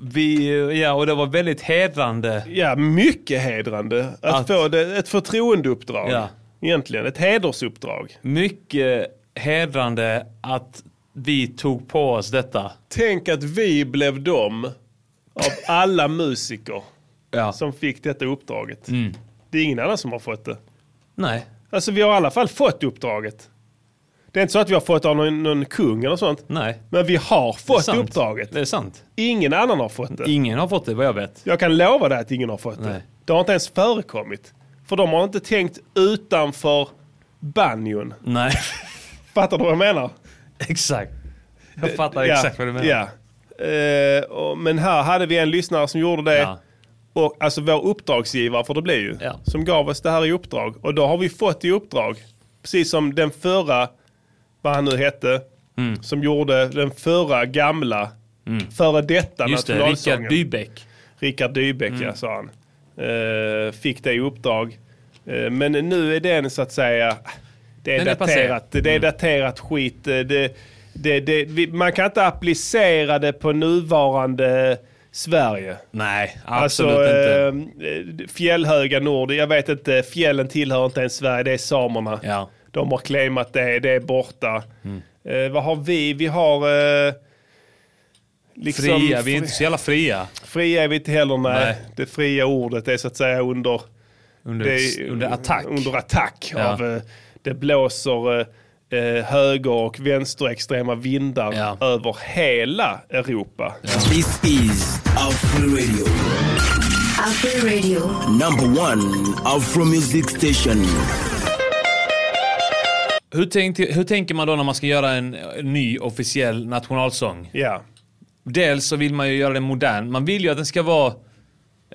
D: vi, eh, ja, och det var väldigt hedrande.
A: Ja, mycket hedrande. Att,
D: Att-
A: få det, ett förtroendeuppdrag.
D: Ja.
A: Egentligen, ett hedersuppdrag.
D: Mycket hedrande att vi tog på oss detta.
A: Tänk att vi blev dem av alla musiker
D: Ja.
A: som fick detta uppdraget.
D: Mm.
A: Det är ingen annan som har fått det.
D: Nej.
A: Alltså vi har i alla fall fått uppdraget. Det är inte så att vi har fått av någon, någon kung eller sånt.
D: Nej.
A: Men vi har
D: Det är
A: fått
D: sant.
A: uppdraget.
D: Det är sant.
A: Ingen annan har fått det.
D: Ingen har fått det vad jag vet.
A: Jag kan lova dig att ingen har fått det.
D: Nej.
A: Det har inte ens förekommit. För de har inte tänkt utanför banjon.
D: Nej,
A: Fattar du vad jag menar?
D: exakt. Jag fattar exakt vad du menar.
A: Ja. Eh, och, men här hade vi en lyssnare som gjorde det.
D: Ja.
A: Och, alltså vår uppdragsgivare får det bli ju.
D: Ja.
A: Som gav oss det här i uppdrag. Och då har vi fått i uppdrag. Precis som den förra, vad han nu hette.
D: Mm.
A: Som gjorde den förra gamla, före detta
D: Just det,
A: nationalsången.
D: Rickard Dybeck.
A: Rickard Dybeck,
D: Mm.
A: ja, sa han. Eh, fick det i uppdrag. Eh, men nu är den så att säga, det är,
D: Den är Mm.
A: daterat,
D: passé.
A: det är daterat skit. Eh, Det, det, det, vi, man kan inte applicera det på nuvarande Sverige.
D: Nej, absolut
A: Alltså, eh,
D: inte.
A: inte. Fjällhöga nord, jag vet inte, fjällen tillhör inte ens Sverige, det är samerna.
D: Ja. Mm.
A: De har claimat det, det är borta. Eh, vad har vi? Vi har... Eh, liksom-
D: Fria, vi är inte så jävla fria.
A: Fria är vi inte heller, nej.
D: Nej.
A: Det fria ordet är så att säga under,
D: Under,
A: det är,
D: under attack.
A: Under attack
D: Ja.
A: av, eh, det blåser eh, eh, höger och vänsterextrema vindar
D: Ja.
A: över hela Europa.
C: This is Afro Radio,
E: After Radio.
C: number one Afro music station.
D: Hur, tänkte, hur tänker man då när man ska göra en eh, ny officiell nationalsång?
A: Ja.
D: Dels så vill man ju göra den modern. Man vill ju att den ska vara...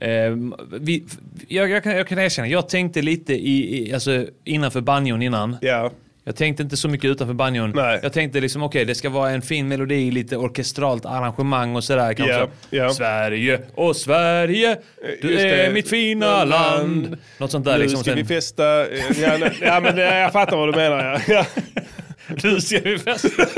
D: Eh, vi, jag, jag, kan, jag kan erkänna, jag tänkte lite i, i, alltså, innanför banjon innan.
A: ja.
D: Jag tänkte inte så mycket utanför banjon.
A: Nej.
D: Jag tänkte liksom, okej, det ska vara en fin melodi, lite orkestralt arrangemang och sådär kanske.
A: Ja, ja.
D: Sverige, och Sverige, du
A: Just
D: är
A: det.
D: mitt fina land. Något sånt där
A: nu
D: liksom.
A: ska
D: Sen,
A: vi festa. eh, Ja, nej, ja, men, eh, jag fattar vad du menar. Ja. Ja.
D: nu ska vi festa.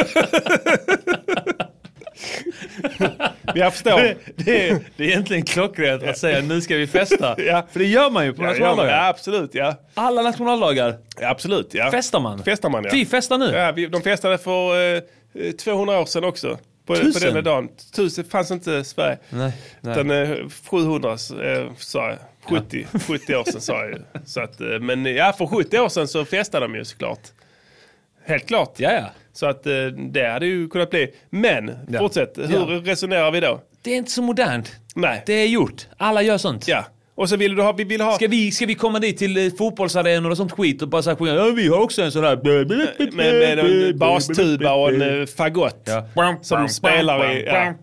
A: Jag förstår.
D: Det, det, är- det är egentligen klockrent att säga nu ska vi festa.
A: Ja.
D: För det gör man ju på
A: Ja, ja, men,
D: nationaldagar.
A: ja, absolut. Ja.
D: Alla nationaldagar
A: Ja, absolut ja.
D: festar man.
A: Festar man ja.
D: Vi festar nu.
A: Ja, vi, de festade för eh, eh, 200 år sedan också. På, på
D: Tusen?
A: den där dagen. Tusen fanns inte i Sverige.
D: Nej, nej.
A: Utan eh, 700 eh, sa jag. 70, 70 år sedan sa jag ju. Så att, eh, men eh, ja, för 70 år sedan så festade de ju såklart. Helt klart.
D: Ja, ja.
A: Så att eh, det hade ju kunnat bli. Men
D: Ja.
A: fortsätt, hur
D: Ja.
A: resonerar vi då?
D: Det är inte så modernt.
A: Nej.
D: Det är gjort. Alla gör sånt.
A: Ja. Och så vill du ha, vi vill ha...
D: Ska vi, ska vi komma dit till eh, fotbollsarenor och sånt skit och bara så här sjunga ja, vi har också en sån här...
A: med, med en bastuba och en eh, fagott
D: Ja.
A: som spelar i... Ja.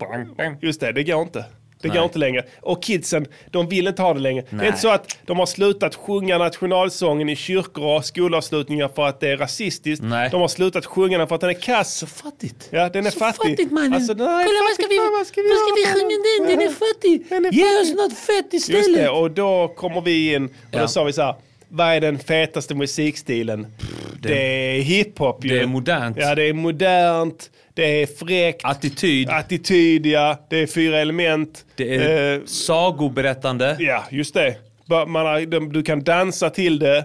A: Just det, det går inte. Det går inte längre. Och kidsen, de vill inte ha det längre. Det är inte så att de har slutat sjunga nationalsången i kyrkor och skolavslutningar för att det är rasistiskt.
D: Nej.
A: De har slutat sjunga den för att den är kass.
D: Fattigt.
A: Ja, den är
D: Så
A: fattig.
D: fattigt mannen.
A: Alltså, den här är
D: Kolla vad
A: fattig.
D: ska vi,
A: Fan,
D: vad ska vi, sjunga den? Den är fattig.
A: Den är
D: Ge
A: fattig.
D: oss något fett
A: Just det,
D: istället.
A: och då kommer vi in och
D: Ja.
A: då sa vi så här. Vad är den fetaste musikstilen? det, är hiphop ju.
D: det är modernt.
A: Ja, det är modernt. Det är fräckt.
D: Attityd.
A: Attityd, ja. Det är fyra element.
D: Det är
A: Eh,
D: sagoberättande.
A: ja, just det. Bara- Man har, de- du kan dansa till det,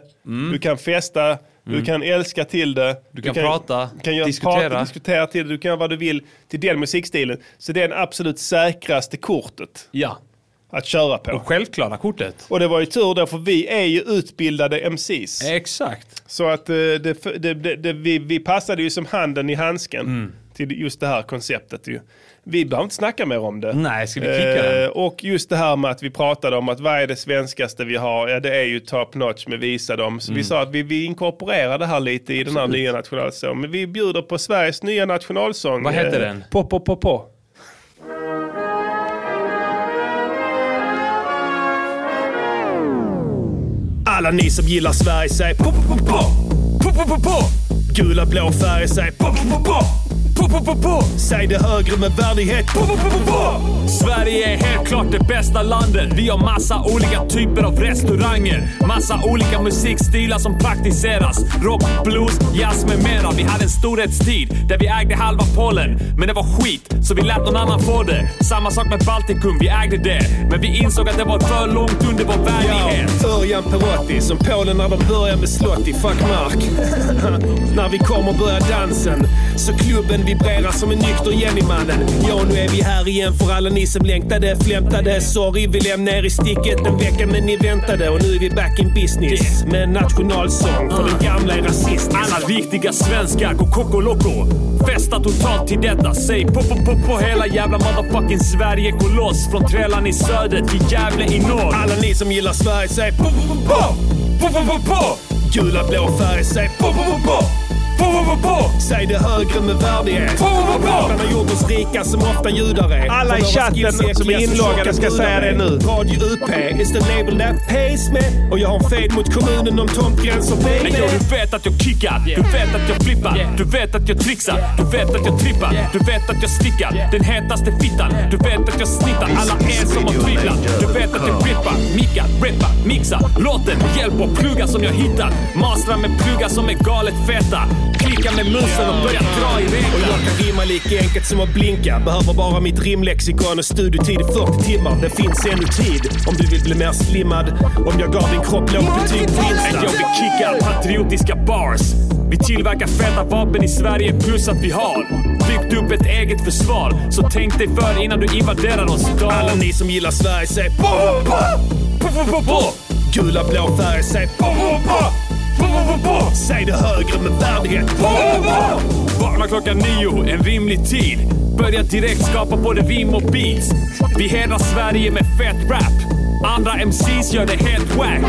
A: du kan festa, du kan älska till det. Du
D: Mm. kan prata,
A: kan göra
D: diskutera.
A: Prata, diskutera till det. Du kan göra vad du vill till den musikstilen. Så det är det absolut säkraste kortet
D: Ja.
A: att köra på.
D: Självklara kortet.
A: Och det var ju tur då, för vi är ju utbildade MCs.
D: Exakt.
A: Så att eh, det, det, det, det, vi, vi passade ju som handen i handsken
D: Mm.
A: till just det här konceptet. Ju. Vi behöver inte snacka mer om det.
D: Nej, ska vi kicka den?
A: Eh, och just det här med att vi pratade om att vad är det svenskaste vi har? Ja, det är ju top notch med Visa dem.
D: Mm.
A: Så vi sa att vi, vi inkorporerar det här lite i den här nya nationalsången. Men vi bjuder på Sveriges nya nationalsång.
D: Vad heter den?
A: Po, po, po, po. Alla ni som gillar Sverige, säg po, po, po, po. Po, po, po, po. Gula blå färger, säg po, po, po, po. Po, po, po, po. Säg det högre med värdighet, po, po, po, po, po.
I: Sverige är helt klart det bästa landet. Vi har massa olika typer av restauranger. Massa olika musikstilar som praktiseras. Rock, blues, jazz med mera. Vi hade en storhetstid där vi ägde halva Polen. Men det var skit, så vi lät någon annan få det. Samma sak med Baltikum, vi ägde det. Men vi insåg att det var för långt under vår värdighet.
A: Örjan Perotti, som Polen när de börjar med Slotti, fuck mark. när vi kommer börjar dansen, så klubben
J: vibrerar som en nykter Jenny-mannen. Ja, nu är vi här igen för alla ni som längtade, flämtade. Sorry, vi lämnade er i sticket en vecka men ni väntade och nu är vi back in business. Med en nationalsång för den gamla är rasist.
B: Alla viktiga svenskar går koko loco. Festa totalt till detta. Säg pop pop pop på hela jävla motherfucking Sverige. Gå loss från Trällan i söder till Gävle i norr.
J: Alla ni som gillar Sverige, säg pop pop pop pop! Pop pop pop pop! Gula blå färg, säg pop pop pop pop! Pop pop pop pop! Säg det högre med värdighet.
B: Pop, pop, pop, pop!
J: Man har gjort oss rika som ofta judar är.
I: Alla i
J: För våra
I: chatten
J: skillsäkliga
I: som är inloggade ska
J: tjocka
I: säga det
J: brudar är.
I: nu.
J: Radio UP is the label that pays me. Och jag har en fade mot kommunen om tomtgränser baby.
B: Ja, du vet att jag kickar, du vet att jag flippar, du vet att jag trixar, du vet att jag trippar, du vet att jag stickar, den hetaste fittan, du vet att jag snittar alla er som har tvivlat, du vet att jag flippar, mickar, reppar, mixar, låten med hjälp av pluggar som jag hittat, mastrar med pluggar som är galet feta, klickar med musen och börjar dra i
J: Och jag
B: reglar.
J: kan rimma lika enkelt som att blinka. Behöver bara mitt rimlexikon och studiotid i 40 timmar. Det finns ännu tid om du vill bli mer slimmad. Om jag gav din kropp lågt betyg på typ
B: Att jag
J: Insta.
B: vill kicka patriotiska bars. Vi tillverkar feta vapen i Sverige plus att vi har byggt upp ett eget försvar. Så tänk dig för innan du invaderar oss idag.
J: Alla ni som gillar Sverige, säg pop, pop, pop! Pop, pop, pop, pop! Gula blå färg, säg pop, pop, pop! Pop, pop, pop, pop! Säg det högre med värdighet. Pop, pop, pop!
B: Vakna klockan nio, en rimlig tid. Börja direkt skapa både rim och beats. Vi hedrar Sverige med fet rap. Andra MCs gör det helt wack.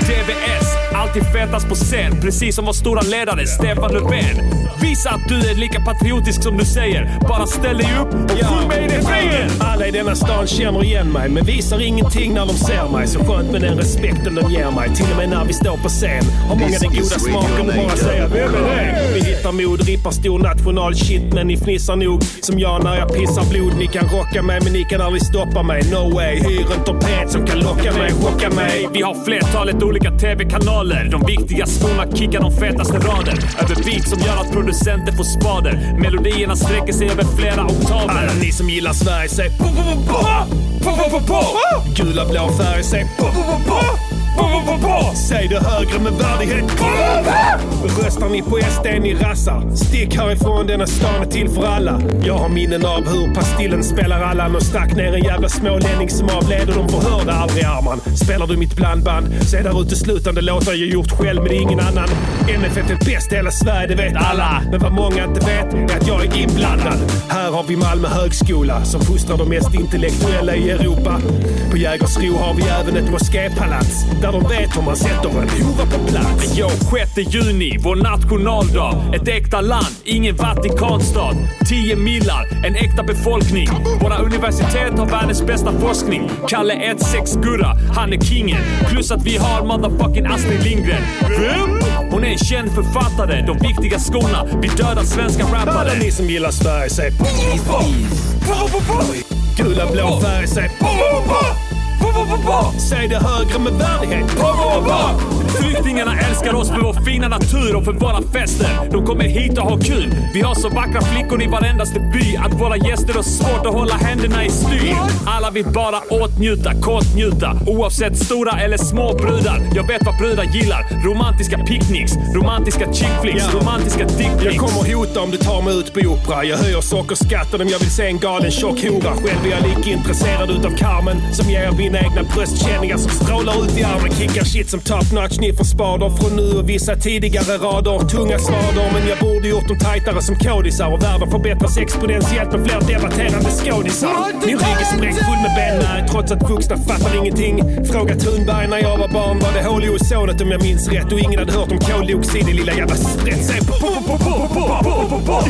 B: DVS, alltid fetast på scen. Precis som vår stora ledare Stefan Löfven. Visa att du är lika patriotisk som du säger. Bara ställ dig upp och sjung med i det fred!
J: Alla i denna stan känner igen mig men visar ingenting när de ser mig. Så skönt med den respekten de ger mig. Till och med när vi står på scen har många den goda smaken och bara säger vem är det? Vi hittar mod, rippar stor national shit men ni fnissar nog som jag när jag pissar blod. Ni kan rocka mig men ni kan aldrig stoppa mig. No way, hyr en torped som kan locka mig, chocka mig.
B: Vi har flertalet olika TV-kanaler. De viktiga skorna kickar de fetaste rader. Över beat som gör att producenter får spader. Melodierna sträcker sig över flera oktaver.
J: Alla ni som gillar Sverige, säg pop, pop, pop, pop, pop, pop, pop. Gula blå färg, säg pop, pop, pop, pop. Pop, pop, pop, pop. Säg det högre med värdighet. Pop, pop, pop. Röstar ni på SD, ni rassar. Stick härifrån, denna stan är till för alla. Jag har minnen av hur Pastillen spelar Allan och stack ner en jävla smålänning som avled och de förhörde aldrig Arman. Spelar du mitt blandband så är där uteslutande låtar jag gjort själv men det är ingen annan. MFF är bäst i hela Sverige, det vet alla. Men vad många inte vet är att jag är inblandad. Här har vi Malmö högskola som fostrar de mest intellektuella i Europa. På Jägersro har vi även ett mosképalats där de vet hur man sätter en hora på plats.
B: Jo, 6 juni, vår nationaldag. Ett äkta land, ingen Vatikanstat. 10 millar, en äkta befolkning. Våra universitet har världens bästa forskning. Kalle 16 Gurra, han är kingen. Plus att vi har motherfucking Astrid Lindgren. Vem? Hon är en känd författare. De viktiga skorna, vi dödar svenska
J: Alla
B: rappare.
J: ni som gillar Sverige, säg pop, pop, pop. Pop, pop, pop. Gula blå färg, säg pop, pop, pop. Pop, pop, pop, pop. Säg det högre med värdighet. Pop, pop, pop.
B: Flyktingarna älskar oss för vår fina natur och för våra fester. De kommer hit och har kul. Vi har så vackra flickor i varendaste by att våra gäster har svårt att hålla händerna i styr. Alla vill bara åtnjuta, kortnjuta. Oavsett stora eller små brudar. Jag vet vad brudar gillar. Romantiska picknicks, romantiska chick flicks,
J: Ja.
B: romantiska dick
J: Jag
B: pics.
J: kommer hota om du tar mig ut på opera. Jag höjer sockerskatten om jag vill se en galen tjock hora. Själv är jag lika intresserad utav Carmen som ger mina egna bröstkänningar som strålar ut i armen. Kickar shit som top notch, ni får spader från nu och vissa tidigare rader. Tunga svader, men jag borde gjort dem tajtare som kodisar. Och världen förbättras exponentiellt med fler debatterande skådisar. Min rygg är sprängd full med benmärg trots att vuxna fattar ingenting. Fråga Thunberg när jag var barn var det hål i ozonet om jag minns rätt. Och ingen hade hört om koldioxid i lilla jävla sprätt. Säg pop, pop, pop, pop.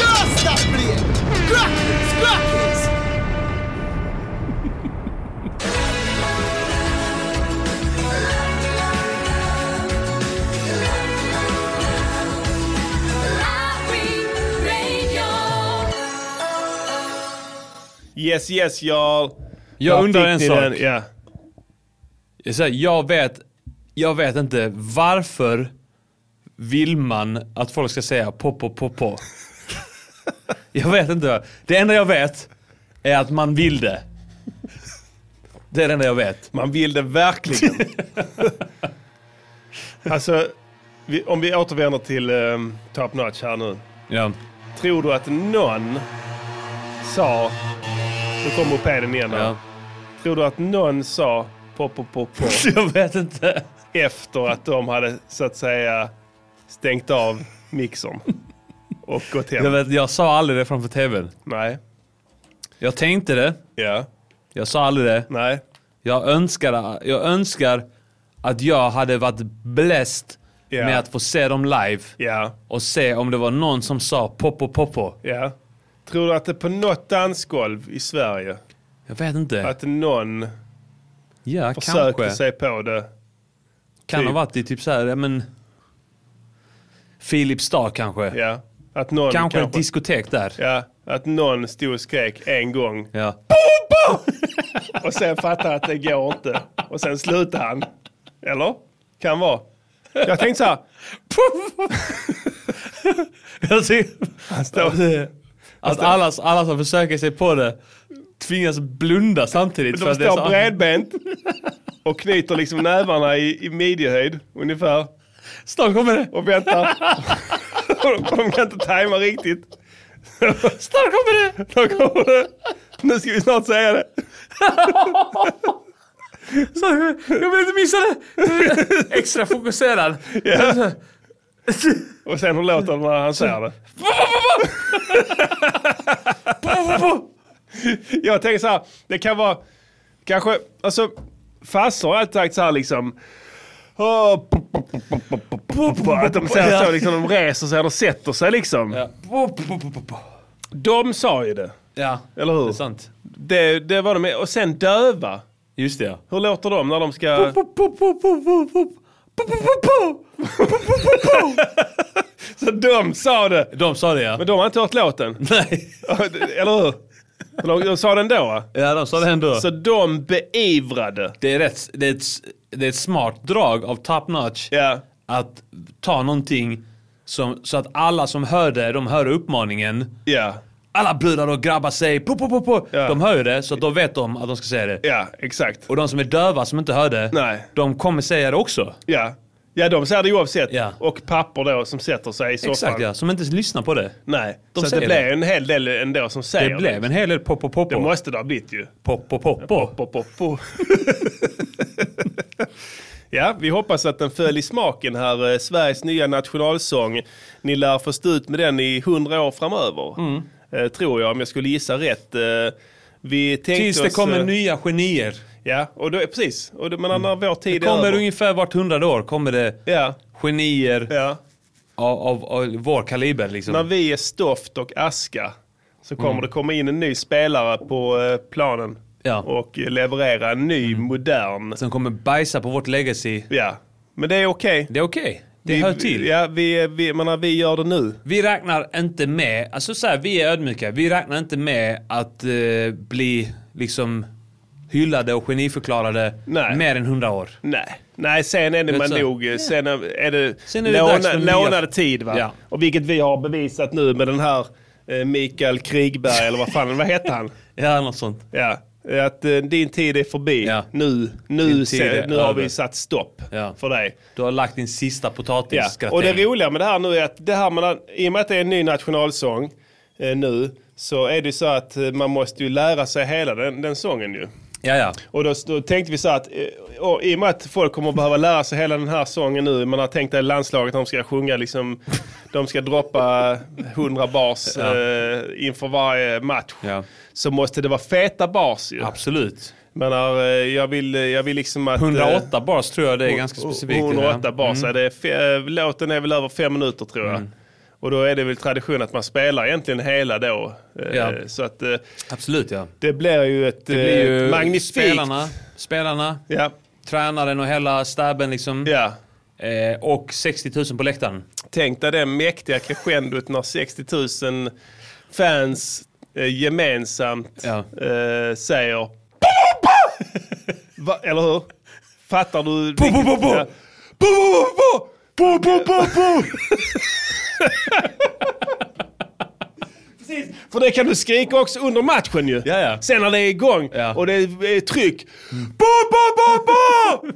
K: Dosta blir! Grattis, grattis!
A: Yes yes y'all.
D: Jag
A: Där
D: undrar
A: fick
D: en
A: ni
D: sak.
A: den, Ja.
D: Jag, säger, jag, vet, jag vet inte varför vill man att folk ska säga på, på, på, på. jag vet inte. Det enda jag vet är att man vill det. Det är det enda jag vet.
A: Man vill det verkligen. Alltså, vi, om vi återvänder till ehm, Top Notch här nu.
D: Ja.
A: Tror du att någon sa... Nu kommer mopeden igen här. Tror du att någon sa pop, pop, pop, pop?
D: Jag vet inte.
A: Efter att de hade så att säga stängt av mixern och gått hem.
D: Jag, vet, jag sa aldrig det framför tvn.
A: Nej.
D: Jag tänkte det.
A: Ja.
D: Jag sa aldrig det.
A: Nej.
D: Jag önskar, jag önskar att jag hade varit blessed
A: Ja.
D: med att få se dem live.
A: Ja.
D: Och se om det var någon som sa poppo poppo.
A: Ja. Tror du att det på något dansgolv i Sverige
D: Jag vet inte.
A: att någon
D: ja,
A: försökte
D: kanske.
A: sig på det?
D: Kan ha varit i typ så här, ja, men... Filipstad kanske.
A: Ja. Att någon
D: kanske, ett diskotek där.
A: Ja, att någon stod och skrek en gång.
D: Ja.
A: Och sen fattade att det går inte. Och sen slutade han. Eller? Kan vara. Jag tänkte så här.
D: Jag ser,
A: Han står...
D: att alla, alla som försöker sig på det tvingas blunda samtidigt.
A: De
D: att det är
A: står
D: så-
A: bredbent och knyter liksom nävarna i, i midjehöjd ungefär.
D: Snart kommer det.
A: Och väntar. Och de kan inte tajma riktigt.
D: Snart kommer det.
A: Då kommer det. Nu ska vi snart säga det.
D: Snart kommer det. Jag vill inte missa det. Extra fokuserad.
A: Ja. Och sen hur låter det när han säger det? Jag tänker så här, det kan vara, kanske, alltså farsor har alltid sagt så här liksom. "Åh, p- p- p- p- p- p- p- p-" Att de säger så liksom, de reser sig och sätter sig liksom. De sa ju det,
D: Ja,
A: eller
D: det är
A: hur?
D: sant.
A: Det, det var de med. Och sen döva.
D: Just det ja.
A: Hur låter de när de ska... Så de sa det.
D: De sa det ja.
A: Men de har inte hört låten.
D: Nej.
A: Eller hur? De, de sa den då. va?
D: Ja, de sa det ändå.
A: Så de beivrade.
D: det, är rätt, det, är ett, det är ett smart drag av top notch
A: Ja.
D: att ta någonting som, så att alla som hör det, de hör uppmaningen.
A: Ja.
D: Alla brudar och grabbar sig, po, po, po, po.
A: Ja.
D: de hör ju det så att då vet de att de ska säga det.
A: Ja, exakt.
D: Och de som är döva som inte hör det,
A: Nej.
D: de kommer säga det också.
A: Ja. Ja, de säger det oavsett.
D: Ja.
A: Och papper då som sätter sig i soffan.
D: Exakt ja, som inte lyssnar på det.
A: Nej.
D: De
A: så att det
D: säger
A: blev
D: det.
A: en hel del ändå som säger
D: Det blev en hel del pop, pop, pop,
A: Det
D: pop,
A: måste det ha blivit ju.
D: pop, pop, pop, pop.
A: Pop, pop, pop. ja, vi hoppas att den föll i smaken här. eh, Sveriges nya nationalsång. Ni lär få stå ut med den i hundra år framöver.
D: Mm.
A: Eh, tror jag, om jag skulle gissa rätt. Eh, vi tänkte
D: Tills det
A: oss,
D: kommer
A: eh,
D: nya genier.
A: Ja, och då, precis. Och då, men när vår tid
D: Mm. Det
A: är
D: kommer
A: över.
D: ungefär vart hundrade år kommer det
A: Ja,
D: genier
A: ja.
D: av, av, av vår kaliber liksom.
A: När vi är stoft och aska så kommer det komma in en ny spelare på eh, planen
D: Mm. Ja. Mm.
A: och eh, leverera en ny, modern.
D: Som kommer bajsa på vårt legacy.
A: Ja, men det är okej.
D: Det är okej. Det
A: Vi-
D: hör till.
A: Ja, vi, eh, vi, jag menar, vi gör det nu.
D: Vi räknar inte med, alltså så här, vi är ödmjuka. Vi räknar inte med att eh, bli liksom hyllade och geniförklarade
A: Nej.
D: mer än hundra år.
A: Nej, Nej sen är det
D: Vet
A: man
D: så.
A: nog, eh, sen är är det,
D: Sen är det
A: låna,
D: dags för nya-
A: lånad tid va.
D: Ja.
A: Och vilket vi har bevisat nu med den här eh, Mikael Krigberg eller vad fan, vad hette han?
D: Ja, något sånt.
A: Ja, att eh, din tid är förbi.
D: Ja.
A: Nu, nu,
D: Din tid
A: se,
D: är
A: nu har
D: över.
A: vi satt stopp
D: Ja.
A: för dig.
D: Du har lagt din sista
A: Ja.
D: potatisgratäng.
A: Och det roliga med det här nu är att det här man, i och med att det är en ny nationalsång eh, nu så är det ju så att eh, man måste ju lära sig hela den, den sången ju.
D: Ja, ja.
A: Och då, då tänkte vi så att eh, och i och med att folk kommer att behöva lära sig hela den här sången nu. Man har tänkt att landslaget de ska sjunga liksom, de ska droppa 100 bars
D: Ja.
A: eh, inför varje match.
D: Ja.
A: Så måste det vara feta bars ju.
D: Absolut.
A: Men eh, jag vill, jag vill liksom att... eh,
D: 108 bars tror jag det Mm. är ganska
A: och-
D: specifikt.
A: 108
D: ja.
A: bars. ja, Det är fe- eh, låten är väl över fem minuter tror jag.
D: Mm.
A: Och då är det väl tradition att man spelar egentligen hela då. Eh,
D: Ja.
A: Så att eh,
D: Absolut ja.
A: det blir ju ett
D: Det blir ju
A: eh, magnifikt...
D: spelarna, spelarna,
A: Ja,
D: tränaren och hela stabben liksom.
A: ja.
D: Eh, och 60 000 på läktaren.
A: Tänk dig det mäktiga crescendot när 60 000 fans eh, gemensamt eh, säger... Va, eller hur? Fattar du? Bo, bo, bo, bo. Ja. Bo, bo, bo, bo, bo, bo, bo. Precis, för det kan du skrika också under matchen ju. Sen när det är igång och det är är tryck. Bo, bo, bo, bo!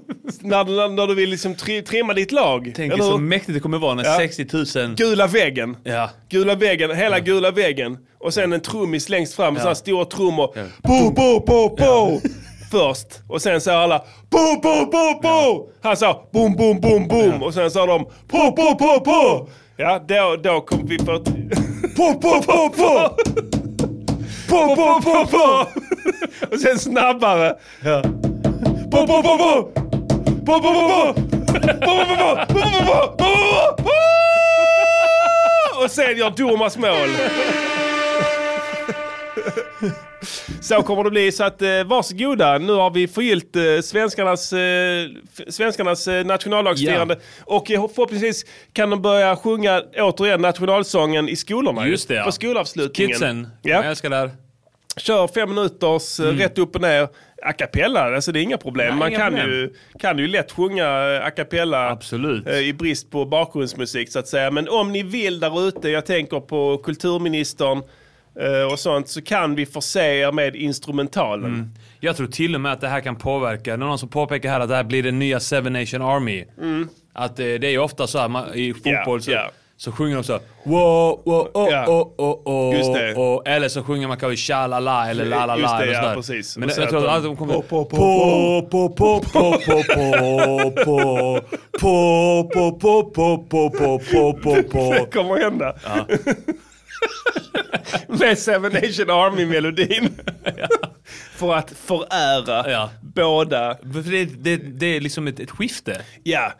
A: när, du- när, när du vill liksom tri, trimma ditt lag.
L: Tänk
A: eller
L: så
A: hur?
L: mäktigt det kommer vara när
A: Ja.
L: 60 000...
A: Gula väggen.
L: Ja.
A: Gula väggen, hela gula väggen. Och sen en trummis längst fram med
L: Ja.
A: sådana stora trummor. Bo, bo, bo, bo! Först. Och sen säger alla bo, bo, bo, bo! Han sa boom, boom, boom, boom. Och sen sa de po, po, po, po! Ja, då, då kom vi på... po, po, po, po! po, po, po, po! Och sen snabbare. Ja. Po, po, po, po! Po, po, po, po! Po, po, po, po! Po, po, po, po! Po, po, po, po! Och sen gör Domas mål. Så kommer det bli. Så att eh, varsågoda. Nu har vi förgyllt eh, svenskarnas, eh, f- svenskarnas eh, nationaldagsfirande. Och eh, förhoppningsvis kan de börja sjunga återigen nationalsången i skolorna. ju.
D: Just det, ja.
A: På skolavslutningen.
D: Kidsen,
A: Ja.
D: jag älskar det här.
A: Kör fem minuters eh, rätt upp och ner. A cappella, alltså det är inga problem.
D: Mm. Nej,
A: Man
D: inga
A: kan,
D: problem.
A: Ju, kan ju lätt sjunga eh, a cappella eh, i brist på bakgrundsmusik så att säga. Men om ni vill där ute, jag tänker på kulturministern eh, och sånt, så kan vi förse er med instrumentalen.
D: Mm. Jag tror till och med att det här kan påverka. Det är någon som påpekar här att det här blir den nya Seven Nation Army.
A: Mm.
D: Att eh, det är ju ofta så här man, i fotboll så, så sjunger de så här, Wow, wow, oh, oh, oh, oh,
A: Just det.
D: oh. Eller så sjunger man kanske tja la la eller la la
A: Just
D: la
A: det,
D: eller
A: ja,
D: sådär.
A: precis.
D: Men
A: Och
D: det-
A: så
D: jag tror
A: att
D: att
A: de-
D: de kommer...
A: po, po,
D: po, po, po, po, po, po, po, po, po, po, po, po, po, po, po.
A: Det kommer hända. Med Seven Nation Army-melodin. För att förära båda.
D: Det, det, det är liksom ett, ett skifte.
A: Ja,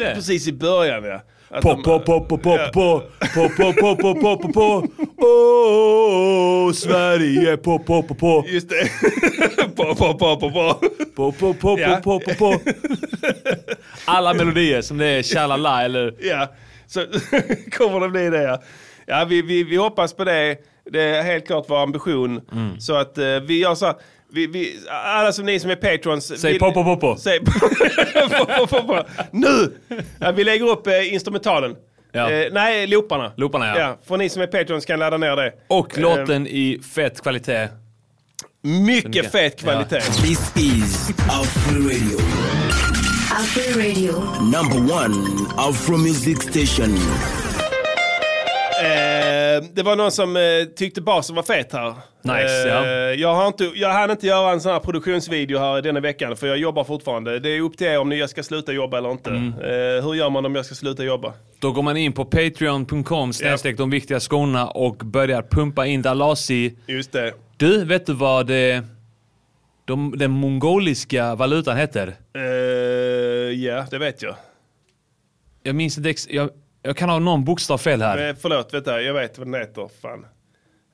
A: eh, precis i början ja. Att
D: Po,
A: de-
D: po, po, po, po,
A: Ja.
D: po, po, po, po, po, po, po, po. Åh, Sverige, po, po, po, po.
A: Just det. po, po, po, po, po.
D: Po, po, po,
A: Ja.
D: po, po, po. Alla melodier som det är tja-la-la eller...
A: Ja, så kommer det bli det ja. ja vi, vi, vi hoppas på det. Det är helt klart vår ambition.
D: Mm.
A: Så att eh, vi gör så här. vi, vi, alla som ni som är patrons.
D: Säg
A: vi-
D: po, po, po, po.
A: Säg po, po, po, po. Nu! Ja, vi lägger upp eh, instrumentalen.
D: Ja.
A: Eh, nej, looparna.
D: Looparna, ja.
A: För ni som är patrons kan ladda ner det.
D: Och
A: Eh,
D: låten i fet kvalitet.
A: Mycket fet kvalitet.
C: This is Afro Radio.
E: Afro Radio.
C: Number one Afro Music Station.
A: Eh, det var någon som eh, tyckte basen var fet här.
C: Nice,
A: eh,
C: ja.
A: jag, har inte, jag hann inte göra en sån här produktionsvideo här denna veckan för jag jobbar fortfarande. Det är upp till er om ni- jag ska sluta jobba eller inte.
C: Mm.
A: Eh, hur gör man om jag ska sluta jobba?
D: Då går man in på patreon.com snedstreck de viktiga skorna och börjar pumpa in Dalasi.
A: Just det.
D: Du, vet du vad det, de, den mongoliska valutan heter?
A: Eh, Ja, Eh, det vet jag.
D: Jag minns inte ex- jag, jag kan ha någon bokstav fel här.
A: Eh, förlåt, vänta, jag vet vad den heter. Fan.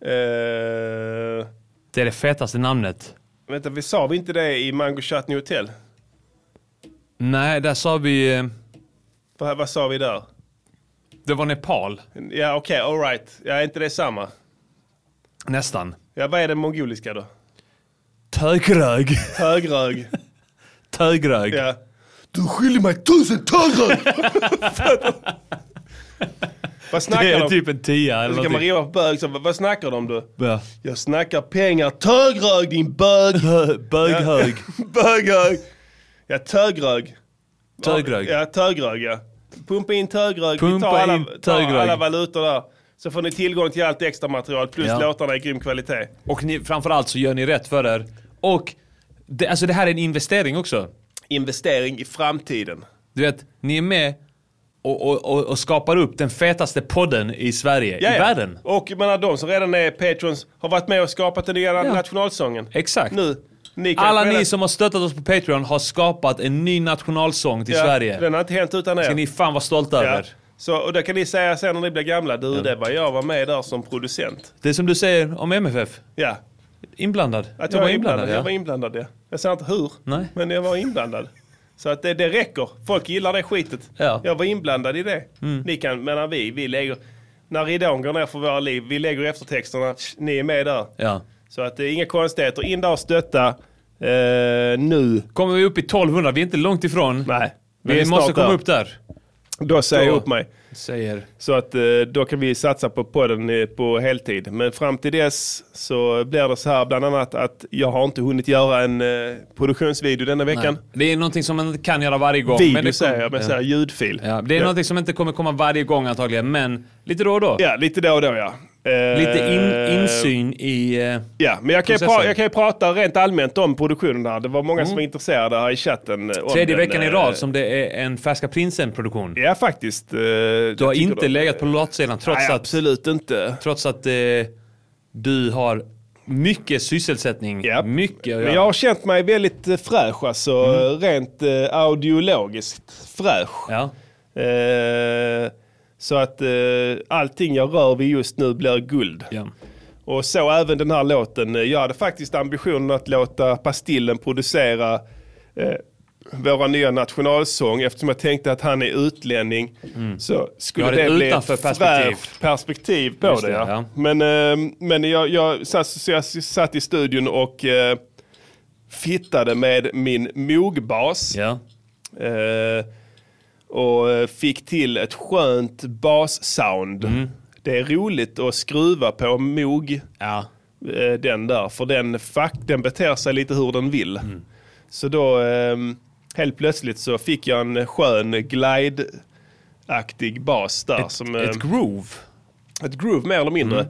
A: Eh,
D: Det är det fetaste namnet.
A: vänta, vi sa vi inte det i Mango Chutney Hotel?
D: Nej, där sa vi... eh,
A: Vad, vad sa vi där?
D: Det var Nepal.
A: Ja, okej, all alright. Ja, är inte det samma?
D: Nästan.
A: Ja, vad är den mongoliska då?
D: Tögrög.
A: Högrög.
D: Tögrög.
A: Ja. Du skyller mig tusen törrar! Vad snackar
D: Det är
A: de?
D: typ en tia eller
A: Så ska man
D: någonting.
A: riva på bög, så, vad vad snackar de om du?
D: Ja.
A: Jag snackar pengar, tögrög din bög!
D: Böghög.
A: Ja, böghög! Ja, tögrög.
D: Tögrög.
A: Ja, tögrög ja. Pumpa in tögrög. Vi
D: Pumpa
A: tar alla,
D: in
A: tar
D: tögrög.
A: alla valutor där. Så får ni tillgång till allt extra material plus
D: Ja.
A: låtarna i grym kvalitet.
D: Och ni, framförallt så gör ni rätt för er. Och det, alltså det här är en investering också.
A: Investering i framtiden.
D: Du vet, ni är med och, och, och, och skapar upp den fetaste podden i Sverige, i
A: Jaja.
D: världen.
A: Och jag menar, de som redan är patrons har varit med och skapat den nya nationalsången.
D: Exakt.
A: Nu. Ni kan
D: Alla
A: redan-
D: ni som har stöttat oss på Patreon har skapat en ny nationalsång till
A: Ja,
D: Sverige.
A: Den har inte hänt utan er.
D: Ska ni fan vara stolta
A: Ja.
D: över.
A: Så, och det kan ni säga sen när ni blir gamla. Du, det var jag var med där som producent.
D: Det är som du säger om MFF.
A: Ja.
D: Inblandad.
A: Att
D: jag var inblandad, ja.
A: Jag var inblandad, ja. Jag säger inte hur,
D: Nej.
A: men jag var inblandad. Så att det, det räcker. Folk gillar det skitet.
D: Ja. Mm.
A: Jag var inblandad i det. Ni kan, menar vi, vi lägger... när ridån går ner för våra liv. Vi lägger eftertexterna, Tsch, ni är med där.
D: Ja.
A: Så att det är inga konstigheter. In där och stötta eh, nu.
D: Kommer vi upp i 1200? Vi är inte långt ifrån.
A: Nej.
D: Men vi
A: är
D: måste
A: snart
D: komma upp där.
A: Då säger jag
D: Då.
A: upp mig.
D: Säger.
A: Så att eh, då kan vi satsa på podden eh, på heltid. Men fram till dess så blir det så här bland annat att jag har inte hunnit göra en eh, produktionsvideo denna veckan.
D: Nej. Det är någonting som man inte kan göra varje gång.
A: Video
D: det
A: säger jag, men så här ljudfil.
D: Ja, det är
A: Ja.
D: någonting som inte kommer komma varje gång antagligen, men lite då och då.
A: Ja, lite då och då ja. Eh,
D: Lite in, insyn i... eh,
A: Ja, men jag kan, ju
D: processen.
A: pra- jag kan ju prata rent allmänt om produktionen här. Det var många som var intresserade här i chatten. eh, om
D: Mm. Tredje
A: den,
D: veckan i
A: eh,
D: rad som det är en Färska Prinsen-produktion.
A: Ja, faktiskt. eh,
D: Du har inte legat på latsidan trots
A: Nej,
D: att...
A: absolut inte.
D: Trots att eh, du har mycket sysselsättning. Mycket att
A: Men
D: göra. Mm.
A: jag har känt mig väldigt eh, fräsch alltså. eh, Rent eh, audiologiskt fräsch. Eh, så att eh, allting jag rör vid just nu blir guld. Och så även den här låten. Jag hade faktiskt ambitionen att låta Pastillen producera eh, våra nya nationalsång eftersom jag tänkte att han är utlänning. Så skulle
D: Mm. Ja, det är
A: det,
D: ett
A: bli ett
D: utanför perspektiv.
A: fräscht perspektiv på
D: Just
A: det.
D: det,
A: ja.
D: ja.
A: Men, eh, men jag, jag, satt, så jag satt i studion och eh, fittade med min mogbas. Eh, och eh, fick till ett skönt bassound.
D: Mm.
A: Det är roligt att skruva på mog. eh, Den där, för den, fuck, den beter sig lite hur den vill.
D: Mm.
A: Så då eh, helt plötsligt så fick jag en skön glide-aktig bas där.
D: Ett-
A: som, ehm,
D: ett Mm. groove?
A: Ett groove mer eller mindre.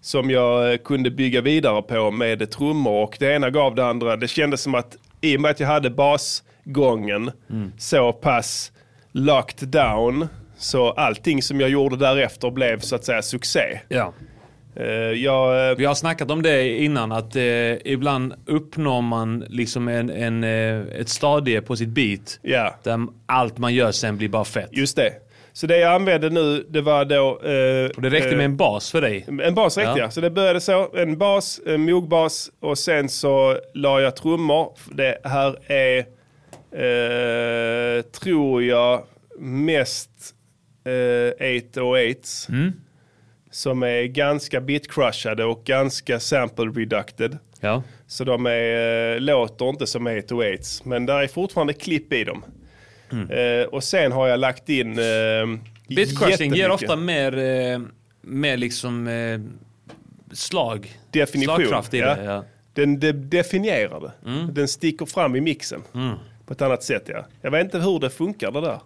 A: Som jag eh, kunde bygga vidare på med trummor och det ena gav det andra. Det kändes som att i och med att jag hade basgången
D: Mm.
A: så pass locked down så allting som jag gjorde därefter blev så att säga succé. Eh,
D: Ja.
A: Vi
D: har snackat om det innan, att eh, ibland uppnår man liksom en, en, eh, ett stadie på sitt beat där allt man gör sen blir bara fett.
A: Just det. Så det jag använde nu, det var då... Eh,
D: Och det räckte
A: eh,
D: med en bas för dig.
A: En bas räckte
D: Ja.
A: ja. Så det började så. En bas, en mogbas och sen så la jag trummor. Det här är, eh, tror jag, mest eh, 808
D: Mm.
A: som är ganska bitcrushade och ganska sample reducted.
D: Ja.
A: Så de är, eh, låter inte som 808 men där är fortfarande klipp i dem. Eh, och sen har jag lagt in eh,
D: Bitcrushing Mm. ger
A: jättemycket.
D: ofta mer, eh, mer liksom eh, slag.
A: definition.
D: Slagkraft i
A: ja.
D: det. Ja.
A: Den de definierar det.
D: Mm.
A: Den sticker fram i mixen. På ett annat sätt ja. Jag vet inte hur det funkar det där.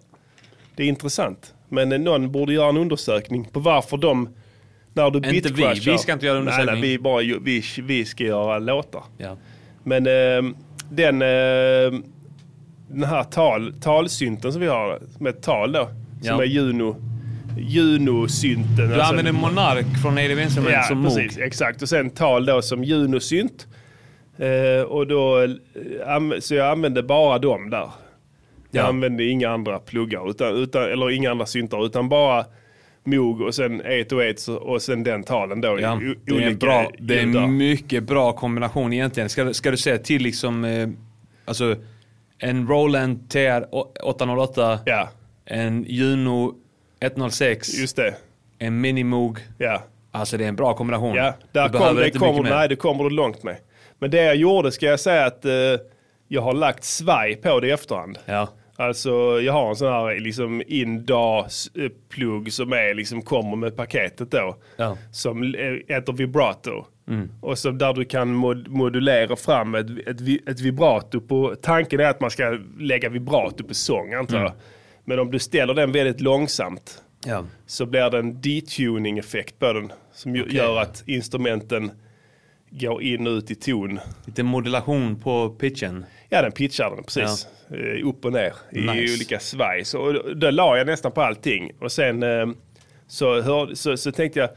A: Det är intressant. Men eh, någon borde göra en undersökning på varför de, när du
D: Inte vi.
A: bitcrushar-
D: Vi ska inte göra undersökning.
A: Nej, nej, vi, bara, ju- vi, vi ska göra låtar.
D: Ja.
A: Men eh, den, eh, den här tal, talsynten som vi har, med tal då, som
D: Ja.
A: är Juno, Juno-synten. alltså.
D: Du använder Monark från Native Instruments
A: Ja,
D: som
A: precis.
D: mog.
A: Exakt. Och sen tal då som Junosynt. Eh, och då, eh, anv- så jag använde bara dem där. Jag
D: Ja.
A: använde inga andra pluggar, utan, utan, eller inga andra syntar, utan bara Moog och sen 808 och sen den talen då. i
D: Ja,
A: o-
D: det är en,
A: olika
D: bra, det är
A: ljud där.
D: en mycket bra kombination egentligen. Ska, ska du säga till liksom, eh, alltså en Roland TR 808, en Juno 106,
A: Just det.
D: en Minimoog.
A: Ja.
D: Alltså det är en bra kombination.
A: Ja, där
D: Du behöver
A: kom, det,
D: inte mycket
A: kommer,
D: mer.
A: nej, det kommer du långt med. Men det jag gjorde ska jag säga att eh, jag har lagt svaj på det i efterhand.
D: Ja.
A: Alltså jag har en sån här liksom indas-plugg som är, liksom, kommer med paketet då.
D: Ja.
A: Som eh, heter vibrato.
D: Mm.
A: Och så där du kan mod- modulera fram ett, ett, vi- ett vibrato på... Tanken är att man ska lägga vibrato på sång antar jag.
D: Mm.
A: Men om du ställer den väldigt långsamt
D: Ja.
A: så blir det en detuning-effekt på den som ju- gör att instrumenten går in och ut i ton.
D: Lite modulation på pitchen.
A: Ja, den pitchar den precis. Eh, Upp och ner i
D: Nice.
A: olika svaj. Så och då- då la jag nästan på allting. Och sen eh, så, hör, så, så tänkte jag,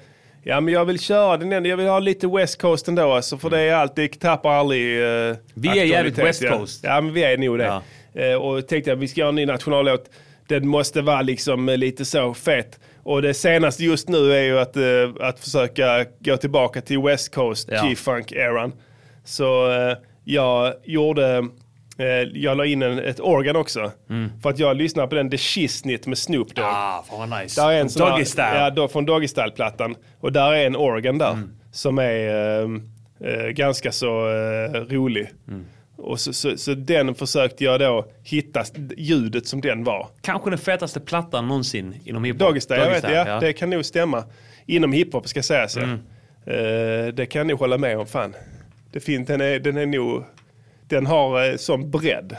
A: ja men jag vill köra den ändå. Jag vill ha lite West Coast ändå alltså, för det är alltid, tappar aldrig eh,
D: Vi är jävligt
A: aktualitet,
D: West
A: ja.
D: Coast.
A: Ja, men vi är nog det. Eh, och tänkte jag, vi ska göra en ny nationallåt. Den måste vara liksom eh, lite så fet. Och det senaste just nu är ju att, eh, att försöka gå tillbaka till West Coast
D: Ja.
A: G-funk-eran. Så eh, jag gjorde Eh, jag la in en, ett organ också. För att jag lyssnar på den The Shiznit med Snoop Dogg.
D: Ah, fan vad nice.
A: Där är en sån här-
D: Doggy style.
A: Ja, då, från Doggy Style-plattan. Och där är en organ där. Som är ehm, eh, ganska så eh, rolig. Och så, så, så den försökte jag då hitta s- ljudet som den var.
D: Kanske den fetaste plattan någonsin inom hiphop.
A: Doggy Style, jag
D: Doggy
A: vet
D: Style,
A: ja, Det kan nog stämma. Inom hiphop ska sägas ja.
D: Mm.
A: Eh, det kan jag nog hålla med om fan. Det fin, den, är, den är nog, den har eh, sån bredd.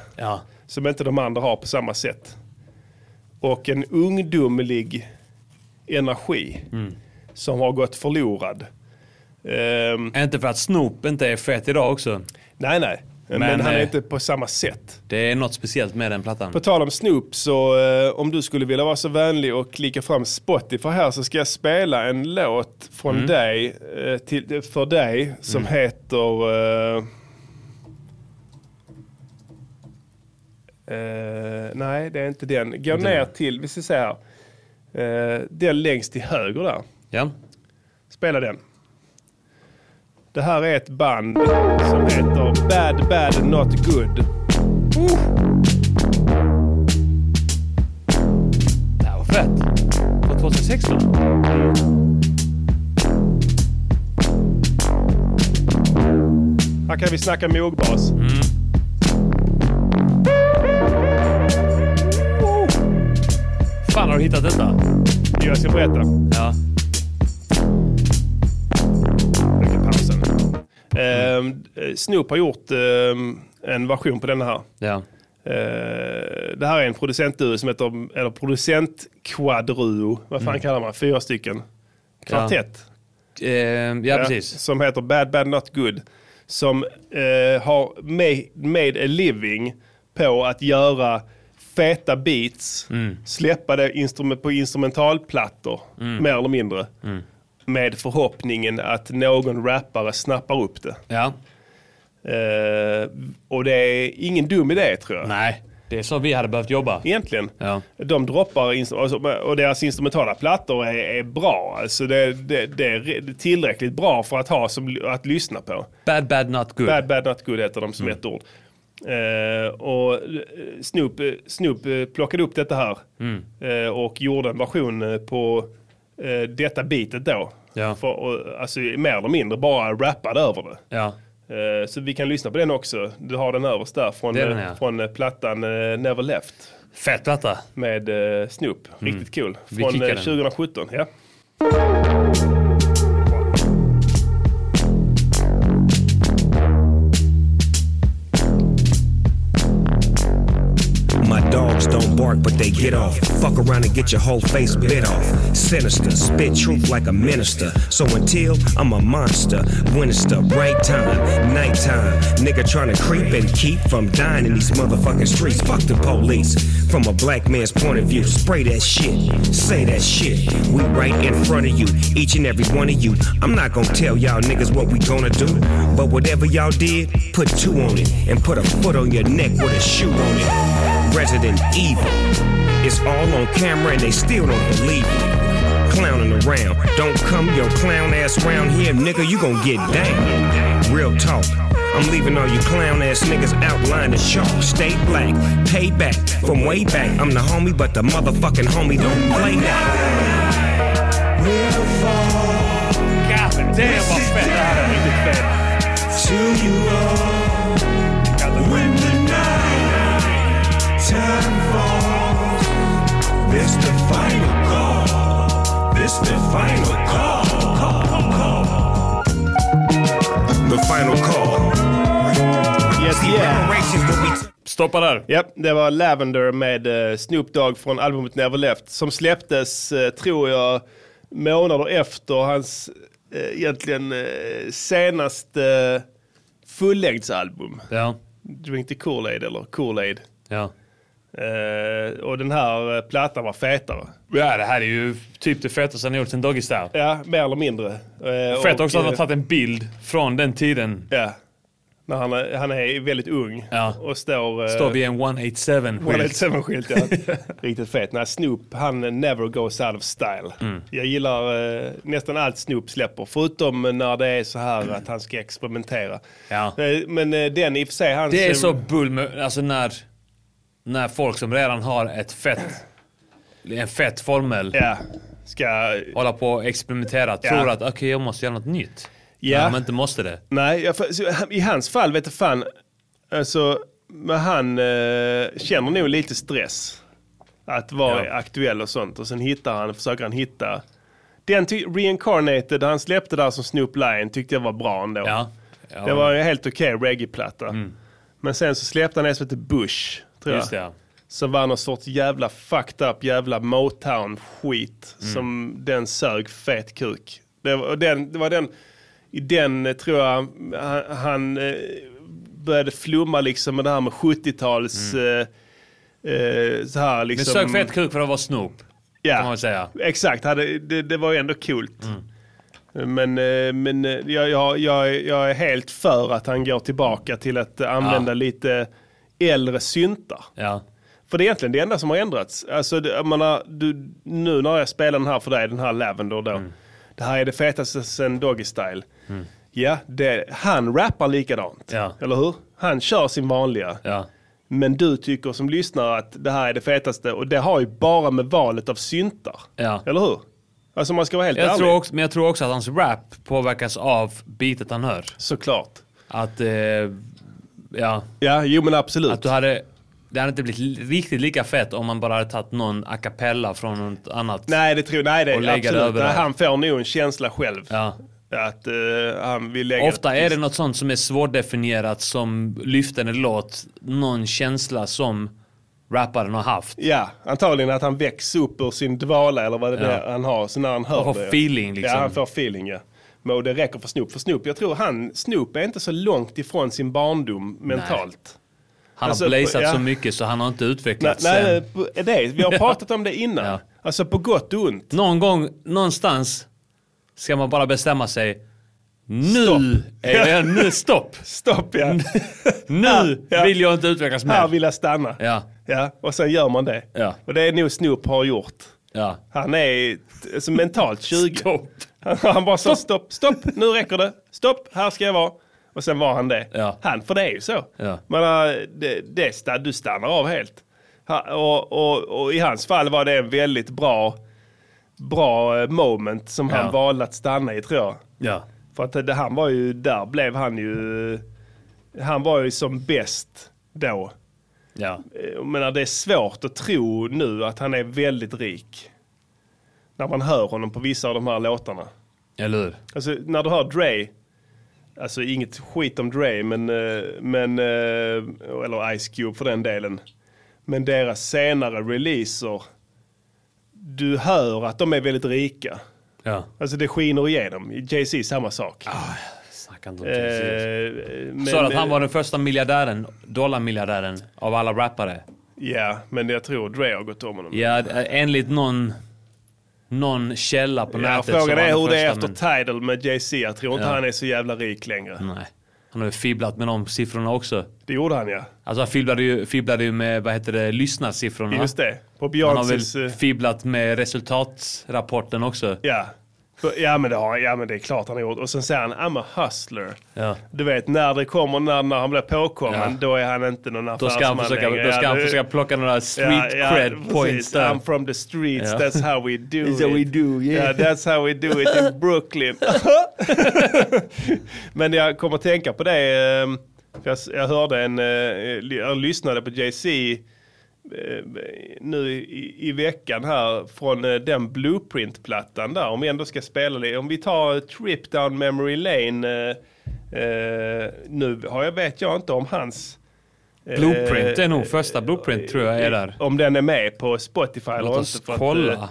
A: Som inte de andra har på samma sätt. Och en ungdomlig energi
D: Mm.
A: som har gått förlorad. Ehm,
D: inte för att Snoop inte är fet idag också.
A: Nej, nej. Men,
D: Men,
A: han är
D: eh,
A: inte på samma sätt.
D: Det är något speciellt med den plattan.
A: På tal om Snoop, så eh, om du skulle vilja vara så vänlig och klicka fram Spotify här så ska jag spela en låt från
D: Mm.
A: dig, eh, till, för dig som
D: Mm.
A: heter... Eh, eh, nej, det är inte den. Gå
D: Inte
A: ner
D: den.
A: till, vi ska se här. Eh, den längst till höger där.
D: Ja.
A: Spela den. Det här är ett band som heter Bad Bad Not Good.
D: Det här var fett. Från 2016.
A: Här kan vi snacka mogbas.
D: Fan har du hittat detta?
A: Jag ska berätta.
D: Ja.
A: pausen. Ehm, eh, Snoop har gjort ehm, en version på den här.
D: Ja.
A: Eh, det här är en producentduo som heter, eller producentkvadruo, vad fan
D: Mm.
A: kallar man, fyra stycken. Kvartett.
D: Ja, Ehm, ja precis.
A: Eh, Som heter Bad Bad Not Good. Som eh, har made, made a living på att göra feta beats,
D: Mm.
A: släppa det instrument- på instrumentalplattor,
D: Mm.
A: mer eller mindre. Med förhoppningen att någon rappare snappar upp det.
D: Ja.
A: Eh, och det är ingen dum idé tror jag.
D: Nej, det är så vi hade behövt jobba.
A: Egentligen.
D: Ja.
A: De droppar instru- alltså, och deras instrumentala plattor är, är bra. Alltså det, det, det är re- tillräckligt bra för att ha som, att lyssna på.
D: Bad Bad Not Good.
A: Bad Bad Not Good heter de som
D: Mm.
A: ett ord. Eh, och eh, Snoop, eh, Snoop eh, plockade upp detta här
D: Mm.
A: eh, och gjorde en version eh, på eh, detta bitet då.
D: Ja.
A: För, och, alltså mer eller mindre bara rappade över det.
D: Ja.
A: Eh, Så vi kan lyssna på den också. Du har den överst där från,
D: Det är den,
A: eh,
D: ja.
A: från eh, plattan eh, Never Left.
D: Fett platta.
A: Med eh, Snoop.
D: Mm.
A: Riktigt cool.
D: Vi
A: Från
D: kickar
A: eh,
D: den.
A: 2017. Ja.
L: My dogs don't bark, but they get off. Fuck around and get your whole face bit off. Sinister, spit truth like a minister. So until I'm a monster, winter, right time, nighttime. Nigga tryna creep and keep from dying in these motherfucking streets. Fuck the police. From a black man's point of view, spray that shit, say that shit. We right in front of you, each and every one of you. I'm not gonna tell y'all niggas what we gonna do, but whatever y'all did, put two on it and put a foot on your neck with a shoe on it. Resident Evil. It's all on camera and they still don't believe it. Clowning around. Don't come your clown ass round here, nigga. You gon' get down. Real talk. I'm leaving all you clown ass niggas outlined and sharp. Stay black, pay back from way back. I'm the homie, but the motherfucking homie don't play that. We'll fall.
D: God damn vad fett det här är. Riktigt fett.
L: To you all. When the night time falls, this the final call. This the final call. call, call. The final call.
A: Yes, yeah.
D: Stoppa där.
A: Ja, det var Lavender med eh, Snoop Dogg från albumet Never Left. Som släpptes, eh, tror jag, månader efter hans eh, egentligen eh, senaste eh, fullängdsalbum.
D: Ja.
A: Drink the Kool-Aid eller Kool-Aid.
D: Ja.
A: Eh, och den här eh, plattan var fetare.
D: Ja, det här är ju typ det fetaste han gjort sen Doggy Style.
A: Ja, mer eller mindre. Eh,
D: Fett
A: och,
D: också att han
A: eh,
D: har tagit en bild från den tiden.
A: Ja. När han är, han är väldigt ung och står... eh,
D: Står vid en 187-skylt.
A: 187-skylt, ja. Riktigt fet. Nej, Snoop, han eh, never goes out of style.
D: Mm.
A: Jag gillar eh, nästan allt Snoop släpper, förutom när det är så här att han ska experimentera. Eh, men eh, den i och för sig, hans...
D: Det är
A: eh,
D: så bull med, alltså när, när folk som redan har ett fett, en fett formel
A: ska
D: hålla på och experimentera.
A: Ja.
D: Tror att okej jag måste göra något nytt.
A: Ja.
D: När man inte måste det.
A: Nej, jag, för- så, i hans fall vet jag fan. Alltså, men han eh, känner nog lite stress. Att vara aktuell och sånt. Och sen hittar han, försöker han hitta. Den ty- Reincarnated han släppte där som Snoop Lion tyckte jag var bra ändå.
D: Ja. Mm.
A: Det var en helt okej reggae-platta. Men sen så släppte han en som heter Bush. Tror
D: Just det,
A: jag.
D: ja.
A: Som var någon sorts jävla fucked up jävla Motown-skit.
D: Mm.
A: Som den sög fet kuk. Det var, och den, det var den, i den eh, tror jag han, han eh, började flumma liksom med det här med 70-tals... Eh, eh, så här
D: Mm. Men
A: liksom.
D: sök fett kuk för att vara Snoop.
A: Ja.
D: Kan man väl säga. Mm.
A: Exakt, hade, det, det var ju ändå coolt. Men, eh, men eh, jag, jag, jag, jag är helt för att han går tillbaka till att eh, använda lite äldre syntar. För det är egentligen det enda som har ändrats. Alltså, det- jag menar, du, nu när jag spelar den här för dig, den här Lavender då.
D: Mm.
A: Det här är det fetaste sen Doggy Style. Ja, det, han rappar likadant. Eller hur? Han kör sin vanliga. Men du tycker som lyssnare att det här är det fetaste och det har ju bara med valet av syntar.
D: Ja.
A: Eller hur? Alltså om man ska vara helt
D: Jag
A: ärlig.
D: tror också, men jag tror också att hans rap påverkas av beatet han hör.
A: Såklart.
D: Att, eh, ja.
A: Ja, jo men absolut.
D: Att du hade, det hade inte blivit li- riktigt lika fett om man bara hade tagit någon a cappella från något annat.
A: Nej, det tror nej, det,
D: Och lägga det
A: absolut.
D: över
A: Nej,
D: där.
A: han får nog en känsla själv.
D: Ja.
A: Att eh, han vill lägga...
D: Ofta är det något sånt som är svårdefinierat som lyfter en låt, någon känsla som rapparen har haft.
A: Ja, antagligen att han väcks upp ur sin dvala eller vad det
D: Ja.
A: är han har. Så när han hör
D: Han får
A: det.
D: feeling, liksom.
A: Ja, han får feeling ja. Men och det räcker för Snoop. För Snoop, jag tror han, Snoop är inte så långt ifrån sin barndom mentalt.
D: Han
A: Alltså,
D: har blazat
A: ja.
D: så mycket så han har inte
A: Nej,
D: utvecklats
A: nej,
D: sen.
A: nej, på- är det, vi har pratat om det innan. Alltså på gott och ont.
D: Någon gång, någonstans ska man bara bestämma sig. Nu är det, nu stopp!
A: Stopp ja.
D: nu vill jag inte utvecklas mer.
A: Här vill jag stanna.
D: Ja.
A: Ja, och sen gör man det.
D: Ja.
A: Och det är nog Snoop har gjort.
D: Ja.
A: Han är t- alltså, mentalt 20. Stopp. Han, han bara sa stopp, stopp, nu räcker det. Stopp, här ska jag vara. Och sen var han det. Han, för det är ju så.
D: Ja.
A: Men äh, det, det, sta- du stannar av helt. Ha, och, och, och i hans fall var det en väldigt bra, bra eh, moment som
D: Ja.
A: han valde att stanna i tror jag.
D: Ja.
A: För att det, han var ju, där blev han ju, han var ju som bäst då. Äh,
D: Ja.
A: Jag menar det är svårt att tro nu att han är väldigt rik. När man hör honom på vissa av de här låtarna.
D: Eller hur?
A: Alltså när du hör Dre, alltså inget skit om Dre, men, eh, men, eh, eller Ice Cube för den delen. Men deras senare releaser, du hör att de är väldigt rika.
D: Ja.
A: Alltså det skiner igenom. I Jay-Z samma sak.
D: Snacka inte om Jay-Z.
A: Eh,
D: Sa du Ah, att han
A: eh,
D: var den första miljardären, dollarmiljardären av alla rappare?
A: eh, Ja, men jag tror Dre har gått om honom.
D: Ja, d- enligt någon, någon källa på
A: Ja,
D: nätet. så
A: frågan
D: var
A: är
D: han
A: hur det är
D: första,
A: efter Tidal med Jay-Z. Jag tror inte
D: Ja. Mm.
A: han är så jävla rik längre.
D: Men, nej. Han har ju fibblat med de siffrorna också.
A: Det gjorde han ja.
D: Alltså han fibblade ju, fibblade ju med, vad heter det, lyssnarsiffrorna.
A: Just det. På
D: Han har
A: Beyoncés...
D: väl
A: eh,
D: fibblat med resultatrapporten också.
A: Ja. För- Ja men, det har, ja men det är klart han har gjort. Och sen säger han I'm a hustler.
D: Ja.
A: Du vet när det kommer, när, när han blir påkommen,
D: Ja.
A: då är han inte någon
D: Då
A: affärsman
D: ska han försöka,
A: längre.
D: då ska
A: Ja,
D: han
A: det-
D: försöka plocka några street
A: Ja, ja,
D: cred
A: precis.
D: points där.
A: I'm from the streets,
D: Ja.
A: that's how we do
D: That's
A: it.
D: how we do, yeah.
A: Ja, that's how we do it in Brooklyn. Men jag kommer att tänka på det. ehm, För jag, s- jag hörde en, eh, ly- jag lyssnade på Jay-Z eh, nu i, i veckan här från eh, den Blueprint-plattan där. Om vi ändå ska spela det. Om vi tar eh, Trip Down Memory Lane. eh, eh, nu har jag, vet jag inte om hans... eh,
D: Blueprint är nog första blueprint tror jag är där.
A: om den är med på Spotify eller
D: Låt oss
A: inte. för att,
D: kolla.
A: eh,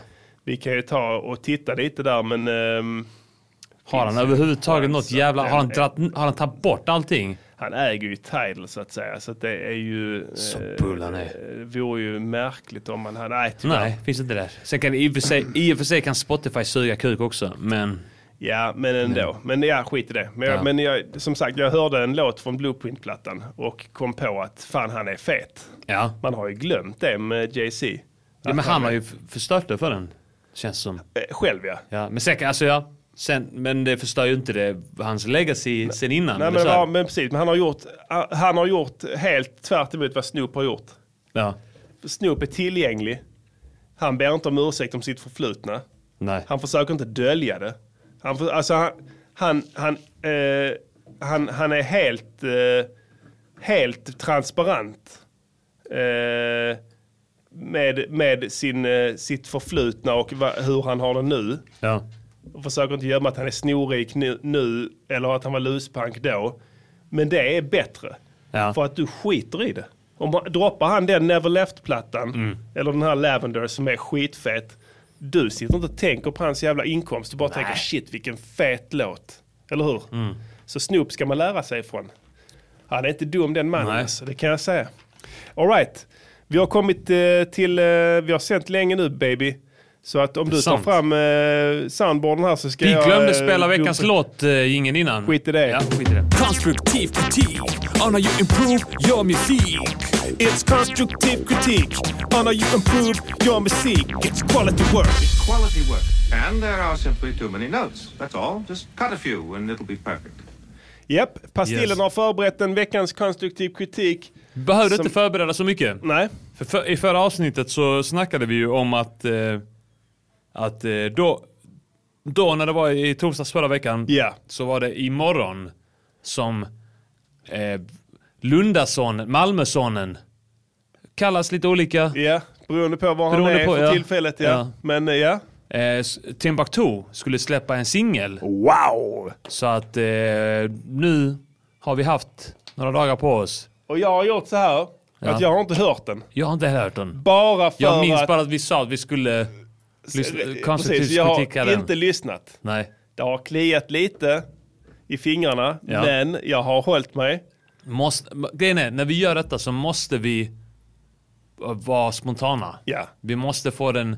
A: vi kan ju ta och titta lite där men... ehm,
D: Har han
A: finns-
D: överhuvudtaget något jävla... Har han,
A: den-
D: dratt, har han tagit bort allting?
A: Han äger ju Tidal så att säga så att det är ju... Så
D: bull han är.
A: Det vore ju märkligt om man hade... Nej, typ- tyvärr.
D: Nej, finns inte där. Sen kan det i och för sig, i och för sig kan Spotify suga kuk också, men...
A: Ja, men ändå. Men ja, skit i det. Men, jag,
M: Ja.
A: men jag, som sagt, jag hörde en låt från Blueprint-plattan och kom på att fan, han är fet. Man har ju glömt det med Jay-Z. Eh,
D: Ja, men han har ju f- förstört det för den. Känns som.
A: Själv ja.
D: ja men säkert, alltså ja. Sen, men det förstör ju inte det, hans legacy sen innan.
A: Nej,
D: eller
A: men,
D: så här.
A: ja, men precis, men han har gjort, han har gjort helt tvärt emot vad Snoop har gjort.
D: Ja.
A: Snoop är tillgänglig. Han ber inte om ursäkt om sitt förflutna.
D: Nej.
A: Han försöker inte dölja det. Han, för, alltså, han, han, han, eh, han, han är helt, eh, helt transparent. Eh, med med sin, eh, sitt förflutna och va, hur han har det nu.
D: Ja.
A: Och försöker inte gömma att han är snorik nu, nu eller att han var luspank då. Men det är bättre. För att du skiter i det. Om, man- droppar han den Never Left-plattan,
D: Mm.
A: eller den här Lavender som är skitfet. Du sitter inte och tänker på hans jävla inkomst. Du bara tänker shit vilken fet låt. Eller hur?
D: Mm.
A: Så Snoop ska man lära sig ifrån. Han är inte dum den mannen alltså, det kan jag säga. Alright, vi har kommit eh, till, eh, vi har sänt länge nu baby. Så att om
D: Det är
A: du tar
D: sant.
A: fram eh, soundboarden här så ska
D: Vi
A: jag...
D: glömde
A: eh,
D: spela veckans
A: gå-
D: låt, eh, ingen innan.
A: Skit i det. Ja,
D: skit i det.
N: Konstruktiv kritik on how you improve your music.
F: It's constructive critique on how you improve your music. It's quality work.
O: Quality work. And there are simply too many notes. That's all. Just cut a few and it'll be perfect.
A: Japp, Pastillen
O: Yes.
A: har förberett en veckans konstruktiv kritik.
D: Behövde
A: Som-
D: inte förbereda så mycket.
A: Nej.
D: För, för, I förra avsnittet så snackade vi ju om att, eh, att eh, då, då när det var i torsdags förra veckan så var det imorgon som eh, Lundasonen, Malmösonen kallas lite olika.
A: Ja, beroende på var han är för tillfället, ja. Men ja.
D: Eh, s- Timbuktu skulle släppa en singel. Wow! Så att eh, nu har vi haft några dagar på oss.
A: Och jag har gjort så här,
D: Ja.
A: att jag har inte hört den.
D: Jag har inte hört den.
A: Bara för
D: Jag minns
A: att... eh,
D: bara att vi sa att vi skulle lyssna-
A: Precis,
D: konstruktivt
A: jag
D: kritika
A: har
D: den.
A: inte lyssnat.
D: Nej.
A: Det har kliat lite i fingrarna,
D: Ja.
A: men jag har hållit mig.
D: Måste, grejen är, när vi gör detta så måste vi eh, vara spontana.
A: Ja.
D: Vi måste få den...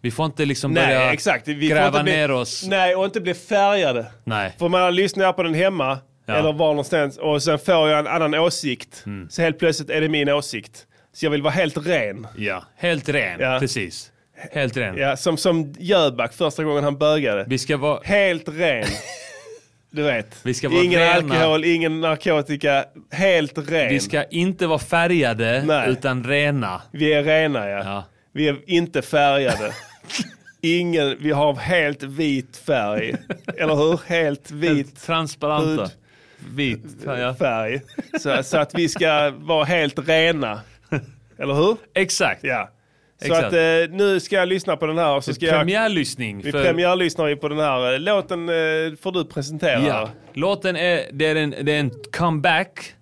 D: Vi får inte liksom börja
A: Nej, exakt. Vi får
D: gräva
A: inte bli,
D: ner oss.
A: Nej, och inte bli färgade.
D: Nej.
A: För man lyssnar på den hemma,
D: Ja. Mm.
A: eller var någonstans, och sen får jag en annan åsikt. Så helt plötsligt är det min åsikt. Så jag vill vara helt ren.
D: Ja, helt ren.
A: Ja.
D: Precis. Helt ren.
A: Ja, som, som Jöback första gången han bögade.
D: Vi ska vara...
A: Helt ren. Du vet.
D: Vi ska vara
A: ingen
D: rena.
A: alkohol, ingen narkotika. Helt ren.
D: Vi ska inte vara färgade,
A: Nej.
D: utan rena.
A: Vi är rena ja. Vi är inte färgade. Ingen, vi har helt vit färg. Eller hur? Helt vit.
D: Transparenta.
A: hud-
D: Vit ja.
A: färg. Så, så att vi ska vara helt rena. Eller hur?
D: Exakt.
A: Ja. Så
D: Exakt.
A: att eh, nu ska jag lyssna på den här och så ska
D: Premiärlyssning.
A: jag... Vi
D: för-
A: premiärlyssnar ju på den här. Låten eh, får du presentera.
D: Ja. Låten är, det är, en, det är en comeback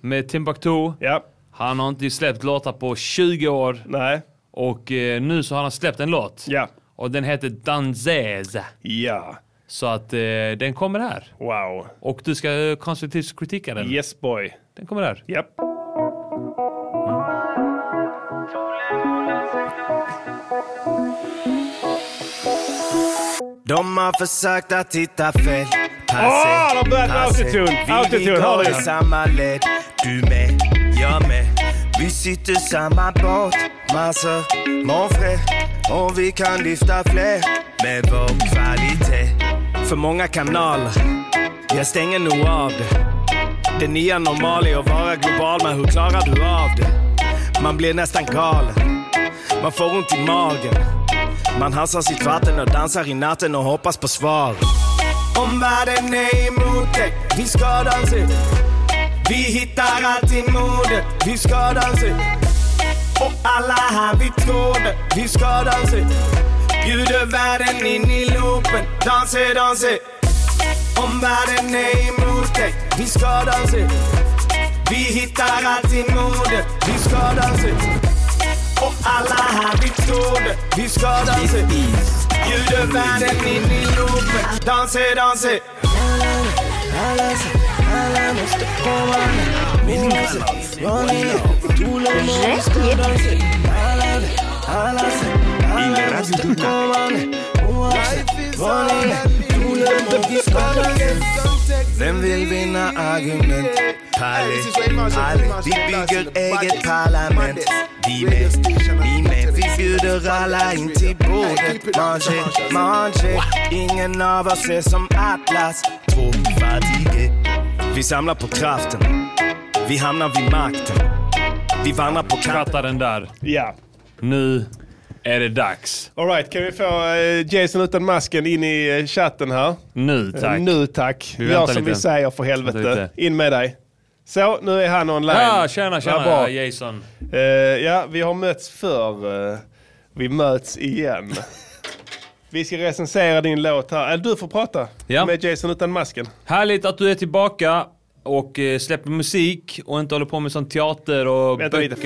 D: med Timbuktu. Han har inte släppt låtar på 20 år.
A: Nej.
D: Och eh, nu så har han släppt en låt. Och den heter Danzez.
A: Ja.
D: Så att eh, den kommer här.
A: Wow.
D: Och du ska eh, konstruktivt kritika den.
A: Yes boy.
D: Den kommer här.
A: Japp.
P: De har försökt att hitta fel.
A: Åh, Ah, de har börjat med autotune.
P: Vi
A: Autotune, hör
P: går
A: ni?
P: i samma led. Du med, jag med. Vi sitter i samma båt. Massor, mon frère. Och vi kan lyfta fler med vår kvalitet. För många kanaler. Jag stänger nog av det. Det nya normala är att vara global, men hur klarar du av det? Man blir nästan galen. Man får ont i magen. Man halsar sitt vatten och dansar i natten och hoppas på svar.
Q: Om världen är emot dig, vi ska dansa ut. Vi hittar alltid modet, vi ska dansa ut. Och alla här vi tror det, vi ska dansa ut. Bjuder världen in i loopen, dansa, dansa ut. Om världen är emot dig, vi ska dansa ut. Vi hittar alltid modet, vi ska dansa ut. Och alla här vi tror det, vi ska dansa ut. Bjuder världen in i loopen, dansa, dansa ut.
P: Il radio de la striden mot dispanen Vem vill vinna argument? Palle, alle, vi bygger eget parlament Vi med, vi med, vi bjuder alla in till bordet Mange, mange, ingen av oss är som Atlas Två fattige Vi samlar på kraften Vi hamnar vid makten Vi vandrar på kanten
D: Fatta den där.
A: Ja.
D: Nu är det dags.
A: Alright, kan vi få eh, Jason utan masken in i eh, chatten här?
D: Nu tack.
A: Eh, Nu tack.
D: Vi
A: Gör
D: väntar
A: som
D: lite.
A: vi säger för
D: Vänta
A: helvete.
D: lite.
A: In med dig. Så, nu är han online.
D: Ja, tjena,
A: Vad
D: tjena
A: bra.
D: Jason.
A: Eh, ja, vi har mötts förr. eh, vi möts igen. vi ska recensera din låt här. Eller du får prata
D: Ja.
A: med Jason utan masken.
D: Härligt att du är tillbaka och eh, släpper musik och inte håller på med sån teater och
A: Vänta lite.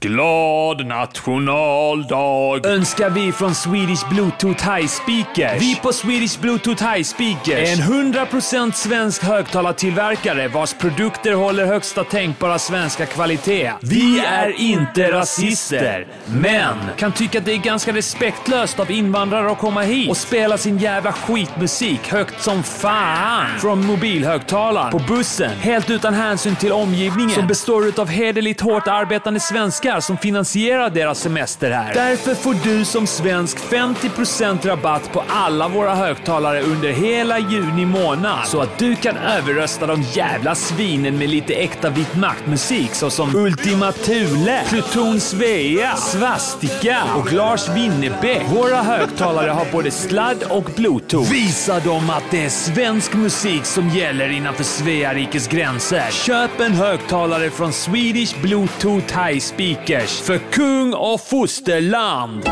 D: Glad nationaldag
B: önskar vi från Swedish Bluetooth High Speakers. Vi på Swedish Bluetooth High Speakers är en 100% svensk högtalartillverkare vars produkter håller högsta tänkbara svenska kvalitet. Vi är inte rasister, men kan tycka att det är ganska respektlöst av invandrare att komma hit och spela sin jävla skitmusik högt som fan från mobilhögtalaren på bussen. Helt utan hänsyn till omgivningen som består utav hederligt hårt arbetande svenskar som finansierar deras semester här. Därför får du som svensk 50% rabatt på alla våra högtalare under hela juni månad. Så att du kan överrösta de jävla svinen med lite äkta vit maktmusik såsom Ultima Thule, Pluton Svea, Svastika och Lars Winnerbäck. Våra högtalare har både sladd och bluetooth. Visa dem att det är svensk musik som gäller innanför Svea rikes gränser. Köp en högtalare från Swedish Bluetooth High Speakers för kung och fosterland.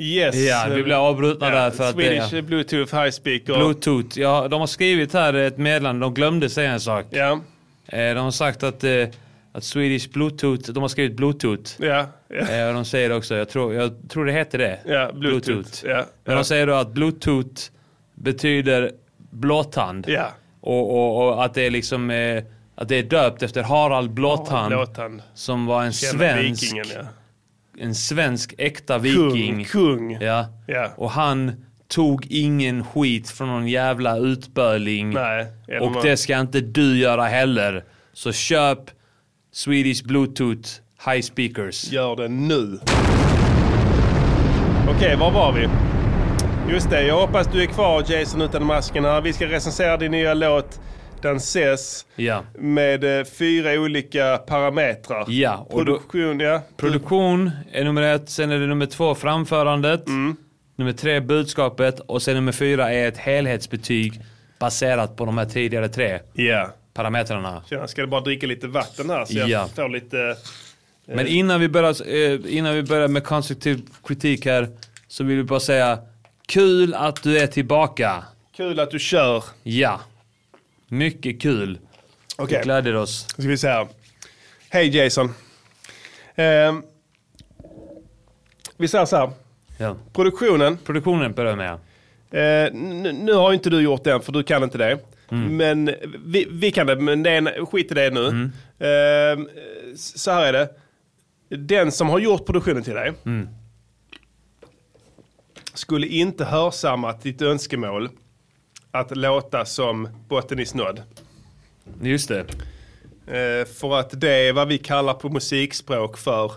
A: Yes.
D: Ja, vi blev avbrutna där för att det-
A: Swedish Bluetooth High Speaker.
D: Bluetooth. Ja, de har skrivit här ett meddelande. De glömde säga en sak. Eh, De har sagt att, eh, att Swedish Bluetooth, de har skrivit Bluetooth.
A: Ja,
D: Eh, och De säger också, jag tror, jag tror det heter det.
A: Ja, Bluetooth. Ja,
D: Men
A: ja.
D: de säger då att Bluetooth betyder blåtand.
A: Ja.
D: Och, och, och att det är liksom, eh, att det är döpt efter Harald Blåtand.
A: Harald Blåtand.
D: Som var en
A: Känner
D: svensk,
A: vikingen, ja.
D: en svensk äkta viking.
A: Kung,
D: Ja.
A: Ja.
D: Och han tog ingen skit från någon jävla utböling.
A: eller
D: och
A: någon-
D: det ska inte du göra heller. Så köp Swedish Bluetooth High Speakers.
A: Gör det nu. Okej, var var vi? Just det, jag hoppas du är kvar Jason utan masken här. Vi ska recensera din nya låt Danses
D: Ja.
A: med eh, fyra olika parametrar.
D: Ja, och då-
A: Produktion, ja.
D: Produktion är nummer ett, sen är det nummer två framförandet,
A: Mm.
D: nummer tre budskapet och sen nummer fyra är ett helhetsbetyg baserat på de här tidigare tre
A: Ja.
D: parametrarna.
A: Tjena, ska jag bara dricka lite vatten här så
D: Ja.
A: jag får lite... eh,
D: Men innan vi, börjar, eh, innan vi börjar med konstruktiv kritik här så vill vi bara säga kul att du är tillbaka.
A: Kul att du kör.
D: Ja, mycket kul.
A: Okej.
D: Vi gläder oss.
A: Ska vi se här. Hej Jason. Ehm, vi säger så här.
D: Ja.
A: Produktionen.
D: Produktionen börjar med.
A: Eh, nu, nu har ju inte du gjort den för du kan inte det.
D: Mm.
A: Men vi, vi kan det, men det är en, skit i det nu. Eh, s- så här är det. Den som har gjort produktionen till dig
D: Mm.
A: skulle inte hörsamma ditt önskemål att låta som Botten i snodd.
D: Just det.
A: Eh, för att det är vad vi kallar på musikspråk för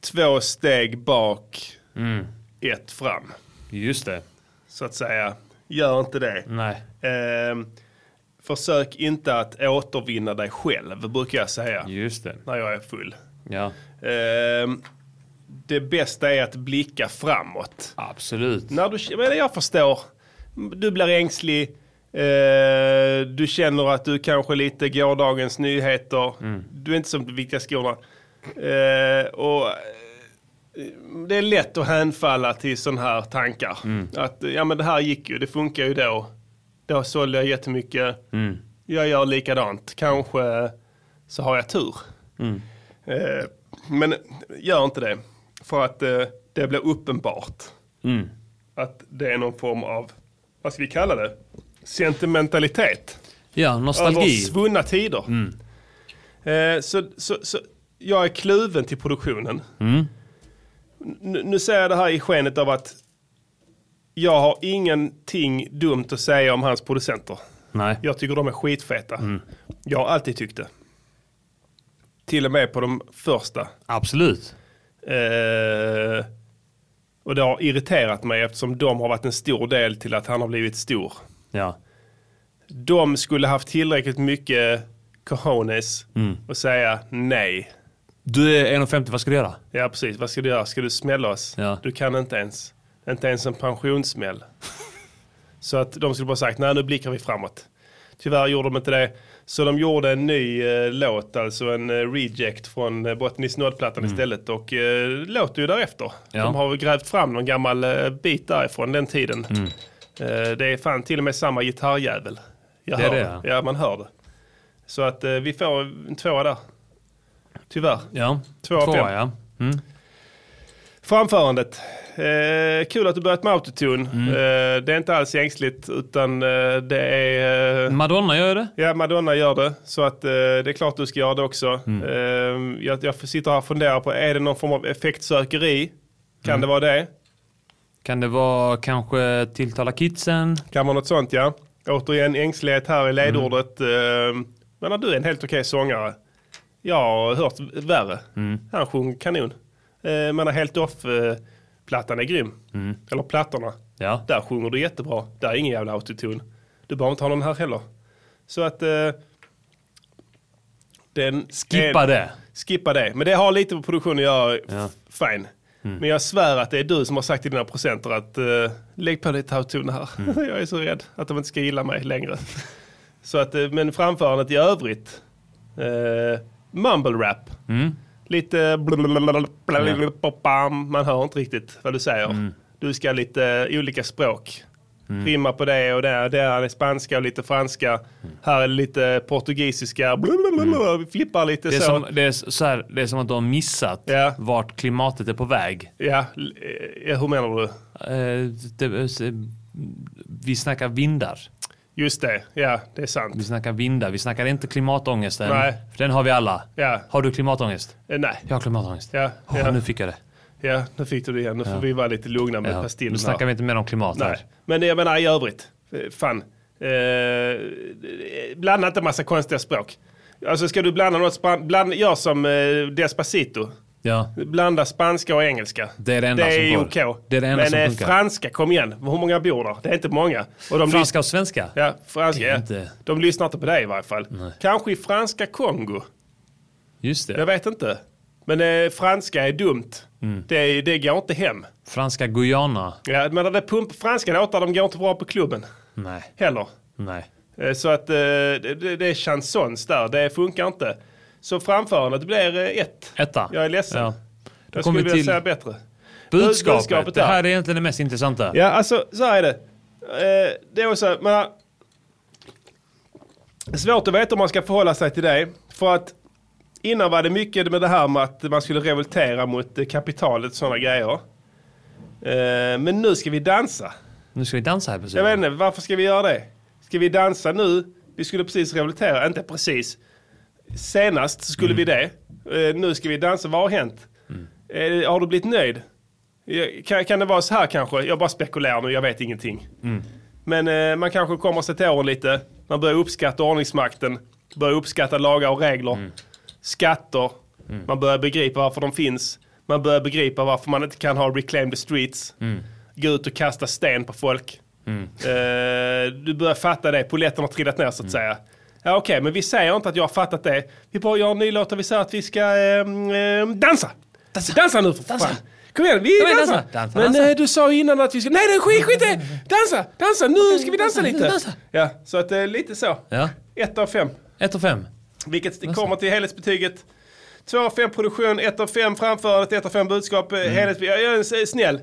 A: två steg bak,
D: Mm.
A: ett fram.
D: Just det.
A: Så att säga, gör inte det.
D: Nej.
A: Ehm, försök inte att återvinna dig själv, brukar jag säga.
D: Just det.
A: När jag är full.
D: Ja,
A: Ehm, det bästa är att blicka framåt.
D: absolut.
A: När du, men jag förstår. Du blir ängslig. Eh, du känner att du kanske lite gårdagens nyheter.
D: Mm.
A: Du är inte som de viktiga skorna. Eh, och, eh, det är lätt att hänfalla till sådana här tankar.
D: Mm.
A: Att ja, men det här gick ju, det funkar ju då. Då sålde jag jättemycket.
D: Mm.
A: Jag gör likadant. Kanske så har jag tur.
D: Mm.
A: Eh, men gör inte det. För att eh, det blir uppenbart
D: Mm.
A: att det är någon form av, vad ska vi kalla det? Sentimentalitet.
D: Ja,
A: Över
D: nostalgi. Mm.
A: svunna tider. Eh, så, så, så jag är kluven till produktionen.
D: Mm.
A: nu, nu säger jag det här i skenet av att jag har ingenting dumt att säga om hans producenter.
D: Nej.
A: Jag tycker de är skitfeta.
D: Mm.
A: Jag har alltid tyckt det. Till och med på de första.
D: Absolut.
A: Eh, och det har irriterat mig eftersom de har varit en stor del till att han har blivit stor.
D: Ja.
A: De skulle haft tillräckligt mycket cojones
D: Mm.
A: och säga nej.
D: Du är 1,50, vad ska du göra?
A: Ja precis, vad ska du göra? Ska du smälla oss? Du kan inte ens. Inte ens en pensionssmäll. så att de skulle bara sagt, nej nu blickar vi framåt. Tyvärr gjorde de inte det. Så de gjorde en ny eh, låt, alltså en eh, reject från eh, Bottnisk plattan
D: Mm.
A: istället. Och eh, låter ju därefter.
D: Ja.
A: De har grävt fram någon gammal eh, bit därifrån den tiden.
D: Mm.
A: Eh, det är fan till och med samma gitarrjävel. Jag
D: Det är
A: hör
D: det,
A: Ja, man hör det. Så att eh, vi får en tvåa där. Tyvärr.
D: Ja.
A: Två av fem.
D: Tvåa, ja. Mm.
A: Framförandet. Eh, kul att du börjat med autotune.
D: Mm.
A: Eh, det är inte alls ängsligt utan eh, det är... Eh,
D: Madonna gör det.
A: Ja, Madonna gör det. Så att eh, det är klart du ska göra det också.
D: Mm.
A: Eh, jag, jag sitter här och funderar på, är det någon form av effektsökeri? Kan
D: Mm.
A: det vara det?
D: Kan det vara kanske tilltala kidsen?
A: Kan vara något sånt ja. Återigen ängslighet här i ledordet.
D: Mm.
A: Eh, men när du är en helt okej sångare. Jag har hört värre.
D: Mm.
A: Han sjöng kanon. Eh, men Helt Off-plattan är grym.
D: Mm.
A: Eller plattorna.
D: Ja.
A: Där sjunger du jättebra. Där är ingen jävla autotune. Du behöver inte ha någon här heller. Så att... Eh, den
D: Skippa
A: är-
D: det.
A: Skippa det. Men det har lite med produktion att göra.
D: Ja.
A: Fine.
D: Mm.
A: Men jag svär att det är du som har sagt till dina procenter att eh, lägg på lite autotune här.
D: Mm.
A: jag är så rädd att de inte ska gilla mig längre. så att, eh, men framförandet i övrigt. Eh, mumble rap.
D: Mm.
A: Lite blablabla, man hör inte riktigt vad du säger. Du ska lite olika språk.
D: Mm.
A: Rimma på det och det. Där är spanska och lite franska. Här är lite portugisiska. Blablabla, vi flippar lite
D: Mm. Det är,
A: så.
D: som, det, är så här, det är som att de har missat vart klimatet är på väg. Eh,
A: Ja, l- eh, hur menar du?
D: vi snackar vindar.
A: Just det, ja det är sant.
D: Vi snackar vindar, vi snackar inte klimatångesten.
A: Nej.
D: För den har vi alla.
A: Ja.
D: Har du klimatångest?
A: Eh, nej.
D: Jag har klimatångest.
A: Ja,
D: Åh,
A: ja.
D: Nu fick jag det.
A: Ja, nu fick du det igen. Nu får
D: Ja.
A: vi vara lite lugna med
D: Ja.
A: pastillen
D: Nu snackar
A: här.
D: vi inte mer om klimat
A: Nej.
D: här.
A: Men jag menar i övrigt, eh, fan. Eh, blanda inte massa konstiga språk. Alltså ska du blanda något, span- bland, gör som eh, Despacito.
D: Ja.
A: Blanda spanska och engelska.
D: Det är det enda
A: är
D: som går.
A: okej.
D: Det är det enda
A: Men
D: som
A: eh,
D: funkar.
A: franska, kom igen. Hur många bor där? Det är inte många.
D: Franska och svenska?
A: Ja, franska.
D: Det är
A: Ja.
D: inte-
A: De lyssnar inte på dig i varje fall. Kanske i franska Kongo.
D: Just det.
A: Jag vet inte. Men eh, franska är dumt.
D: Mm.
A: Det, det går inte hem.
D: Franska Guyana?
A: Ja, men det är pump, franska låtar de går inte bra på klubben
D: Nej.
A: heller.
D: Nej.
A: Eh, Så att eh, det, det- det är chansons där, det funkar inte. Så framförandet blir eh, ett.
D: Etta.
A: Jag är ledsen.
D: Ja. Då
A: Jag
D: kommer
A: skulle
D: vi
A: vilja
D: till
A: säga bättre.
D: Budskapet.
A: Budskapet
D: det
A: där.
D: här är egentligen det mest intressanta.
A: Ja, alltså så här är det. Eh, Det är också, men, eh, svårt att veta om man ska förhålla sig till det. För att innan var det mycket med det här med att man skulle revoltera mot eh, kapitalet, sådana grejer. Eh, Men nu ska vi dansa.
D: Nu ska vi dansa här precis.
A: Jag vet inte, varför ska vi göra det? Ska vi dansa nu? Vi skulle precis revoltera, inte precis. Senast så skulle vi det. Eh, nu ska vi dansa, vad har hänt? Eh, har du blivit nöjd? Eh, Kan, kan det vara så här kanske? Jag bara spekulerar nu, jag vet ingenting.
D: Mm.
A: Men eh, man kanske kommer sig till åren lite. Man börjar uppskatta ordningsmakten. Börjar uppskatta lagar och regler. Skatter.
D: Mm.
A: Man börjar begripa varför de finns. Man börjar begripa varför man inte kan ha reclaim the streets.
D: Mm.
A: Gå ut och kasta sten på folk.
D: Mm.
A: Eh, du börjar fatta det, polletten har trillat ner så att säga. Ja, Okej, men vi säger inte att jag har fattat det. Vi bara gör en ny låt och vi säger att vi ska ehm, ehm, dansa. dansa. Dansa nu för fan. Kom igen, vi
D: Kom igen,
A: dansar.
D: dansa. Dansa,
A: men
D: dansa.
A: eh, du sa ju innan att vi ska... Nej, nej, skit, skit det. Dansa, dansa, nu ska vi dansa lite.
D: dansa.
A: Ja, så att eh, lite så.
D: Ja.
A: Ett av fem.
D: Ett av fem.
A: Vilket det kommer till helhetsbetyget. 2 av 5 produktion, 1 av 5 framförandet, 1 av 5 budskap. Mm. Jag jag är en snäll.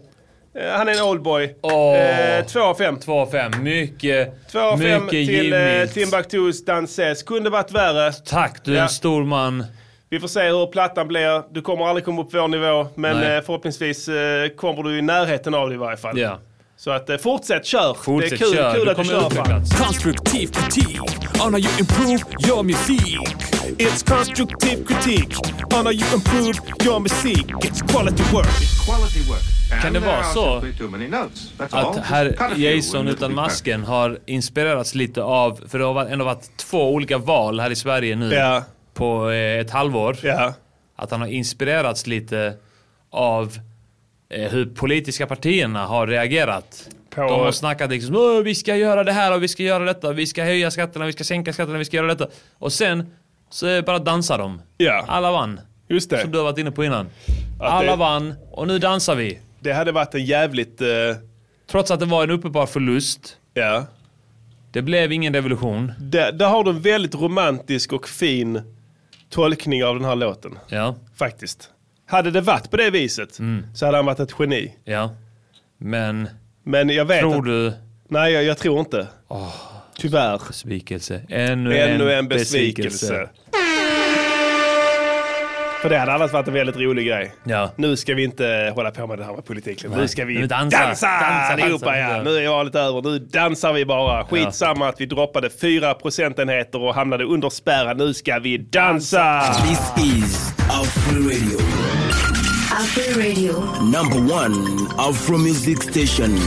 A: Eh, Han är en oldboy.
D: Åh.
A: Eh, Två av fem.
D: Två av fem. Mycket,
A: 2 av 5
D: mycket
A: till eh,
D: givmilt.
A: Timbuktus Danses. Kunde varit värre.
D: Tack, du är en stor man.
A: Vi får se hur plattan blir. Du kommer aldrig komma upp på vår nivå, men
D: Nej.
A: eh, förhoppningsvis eh, kommer du i närheten av det i varje fall.
D: Ja.
A: Så att eh, fortsätt, kör!
D: Fortsätt,
A: det är kul,
D: kör.
A: kul
D: Du
A: att du
D: kommer
A: kör. fan.
N: Constructive critique on how you improve your music.
A: It's constructive critique on how you improve your music. It's quality work.
J: Quality work.
D: Kan
J: And
D: det
J: there
D: vara
J: are
D: så
J: simply too many notes. That's all.
D: att
J: Just cut a
D: herr
J: few
D: Jason
J: and it'll
D: utan
J: be perfect.
D: masken har inspirerats lite av, för det har varit- ändå varit två olika val här i Sverige nu
A: Ja.
D: på eh, ett halvår.
A: Ja.
D: Att han har inspirerats lite av eh, hur politiska partierna har reagerat.
A: På-
D: De har snackat liksom "Åh, vi ska göra det här och vi ska göra detta, vi ska höja skatterna, vi ska sänka skatterna, vi ska göra detta. Och sen så eh, bara dansar de. Alla vann.
A: Just det.
D: Som Ah, du har varit inne på innan. Alla
A: det-
D: vann och nu dansar vi.
A: Det hade varit en jävligt... eh,
D: Trots att det var en uppenbar förlust.
A: Ja.
D: Det blev ingen revolution.
A: Där, där har du en väldigt romantisk och fin tolkning av den här låten.
D: Ja.
A: Faktiskt. Hade det varit på det viset
D: Mm.
A: så hade han varit ett geni.
D: Ja. Men...
A: Men jag vet
D: Tror
A: att,
D: du?
A: Nej, jag, jag tror inte. Tyvärr.
D: Besvikelse. Ännu,
A: Ännu
D: en
A: en besvikelse.
D: besvikelse.
A: För det hade annars varit en väldigt rolig grej.
D: Ja.
A: Nu ska vi inte hålla på med det här med politik. längre.
D: Nej.
A: Nu ska vi
D: Nu dansa.
A: dansa,
D: Dansa,
A: allihopa.
D: dansa.
A: Ja. Nu är valet över. Nu dansar vi bara. Skitsamma att vi droppade fyra procentenheter och hamnade under spärren. Nu ska vi dansa!
C: This is Afro Radio.
E: Afro Radio.
C: Number one Afro music station.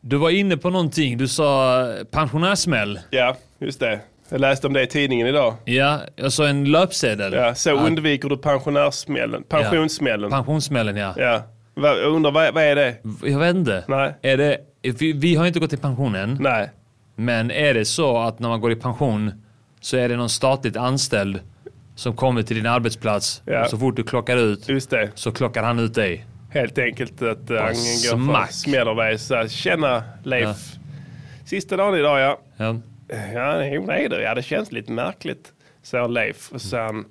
D: Du var inne på någonting. Du sa eh, pensionärsmäll.
A: Ja, just det. Jag läste om det i tidningen idag.
D: Ja, jag sa en löpsedel.
A: Ja, så
D: Att-
A: undviker du pensionärssmällen. Pensionssmällen.
D: Ja. Mm. Pensionssmällen, ja.
A: Ja. Va- Jag undrar, vad, vad är det?
D: Jag vet inte. Nej. Är det, vi, vi har inte gått i pension än.
A: Nej.
D: Men är det så att när man går i pension så är det någon statligt anställd som kommer till din arbetsplats
A: Ja.
D: och så fort du klockar ut så klockar han ut dig.
A: Helt enkelt att eh, han går för
D: smack.
A: smäller dig. Så här, tjena Leif.
D: Ja.
A: Sista dagen idag ja.
D: Ja.
A: Ja, det- jo, det är det. Ja, det känns lite märkligt. Säger Leif.
D: Mm.
A: Och sen...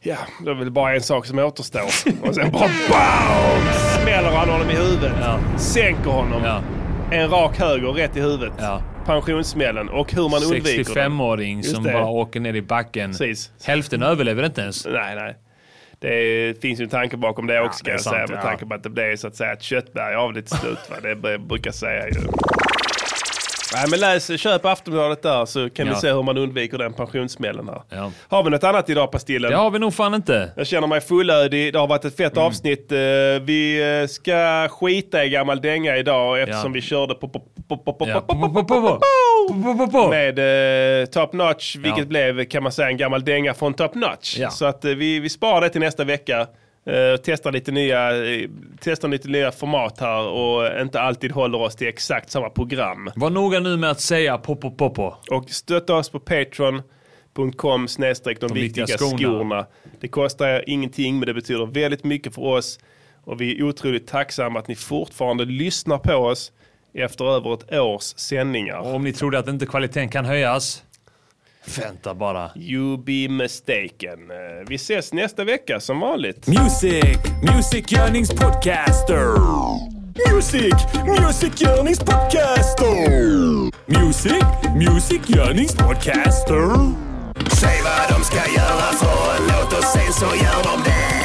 A: Ja, det är väl bara en sak som återstår. Och sen bara BAM! Smäller han honom i huvudet. Sänker honom. En rak höger rätt i huvudet. Pensionssmällen. Och hur man undviker den.
D: 65-åring
A: Just
D: som
A: det.
D: bara åker ner i backen.
A: Precis.
D: Hälften överlever inte ens.
A: Nej, nej. Det finns ju en tanke bakom det också
D: det
A: ska
D: är
A: jag
D: sant,
A: säga. Med
D: ja.
A: tanke på att det blev så att säga ett köttberg av det till slut. Va? Det br- brukar säga ju. Nej men läs, köp Aftonbladet där så kan
D: Ja.
A: du se hur man undviker den pensionssmällen här.
D: Ja.
A: Har vi något annat idag Pastillen?
D: Det har vi nog fan inte.
A: Jag känner mig fullödig. Det har varit ett fett
D: Mm.
A: avsnitt. Eh, Vi eh, ska skita i gammal dänga idag eftersom
D: Ja.
A: vi körde på, på, på, på, på,
D: Ja.
A: på, på, på, på, på med eh, Top Notch, vilket
D: Ja.
A: blev kan man säga en gammal dänga från Top Notch.
D: Ja.
A: Så att eh, vi, vi sparar det till nästa vecka. eh, och testar lite, nya, eh, testar lite nya format här och inte alltid håller oss till exakt samma program.
D: Var noga nu med att säga popo popo.
A: Och stötta oss på patreon.com snedstreck de viktiga skorna. Det kostar er ingenting men det betyder väldigt mycket för oss. Och vi är otroligt tacksamma att ni fortfarande lyssnar på oss efter över ett års sändningar.
D: Och om ni trodde att inte kvaliteten kan höjas, vänta bara.
A: You be mistaken. Eh, Vi ses nästa vecka som vanligt.
I: Music, musikgörningspodcaster. Music, musikgörningspodcaster. Music, musikgörningspodcaster.
R: Säg vad de ska göra för en låt och sen så gör de det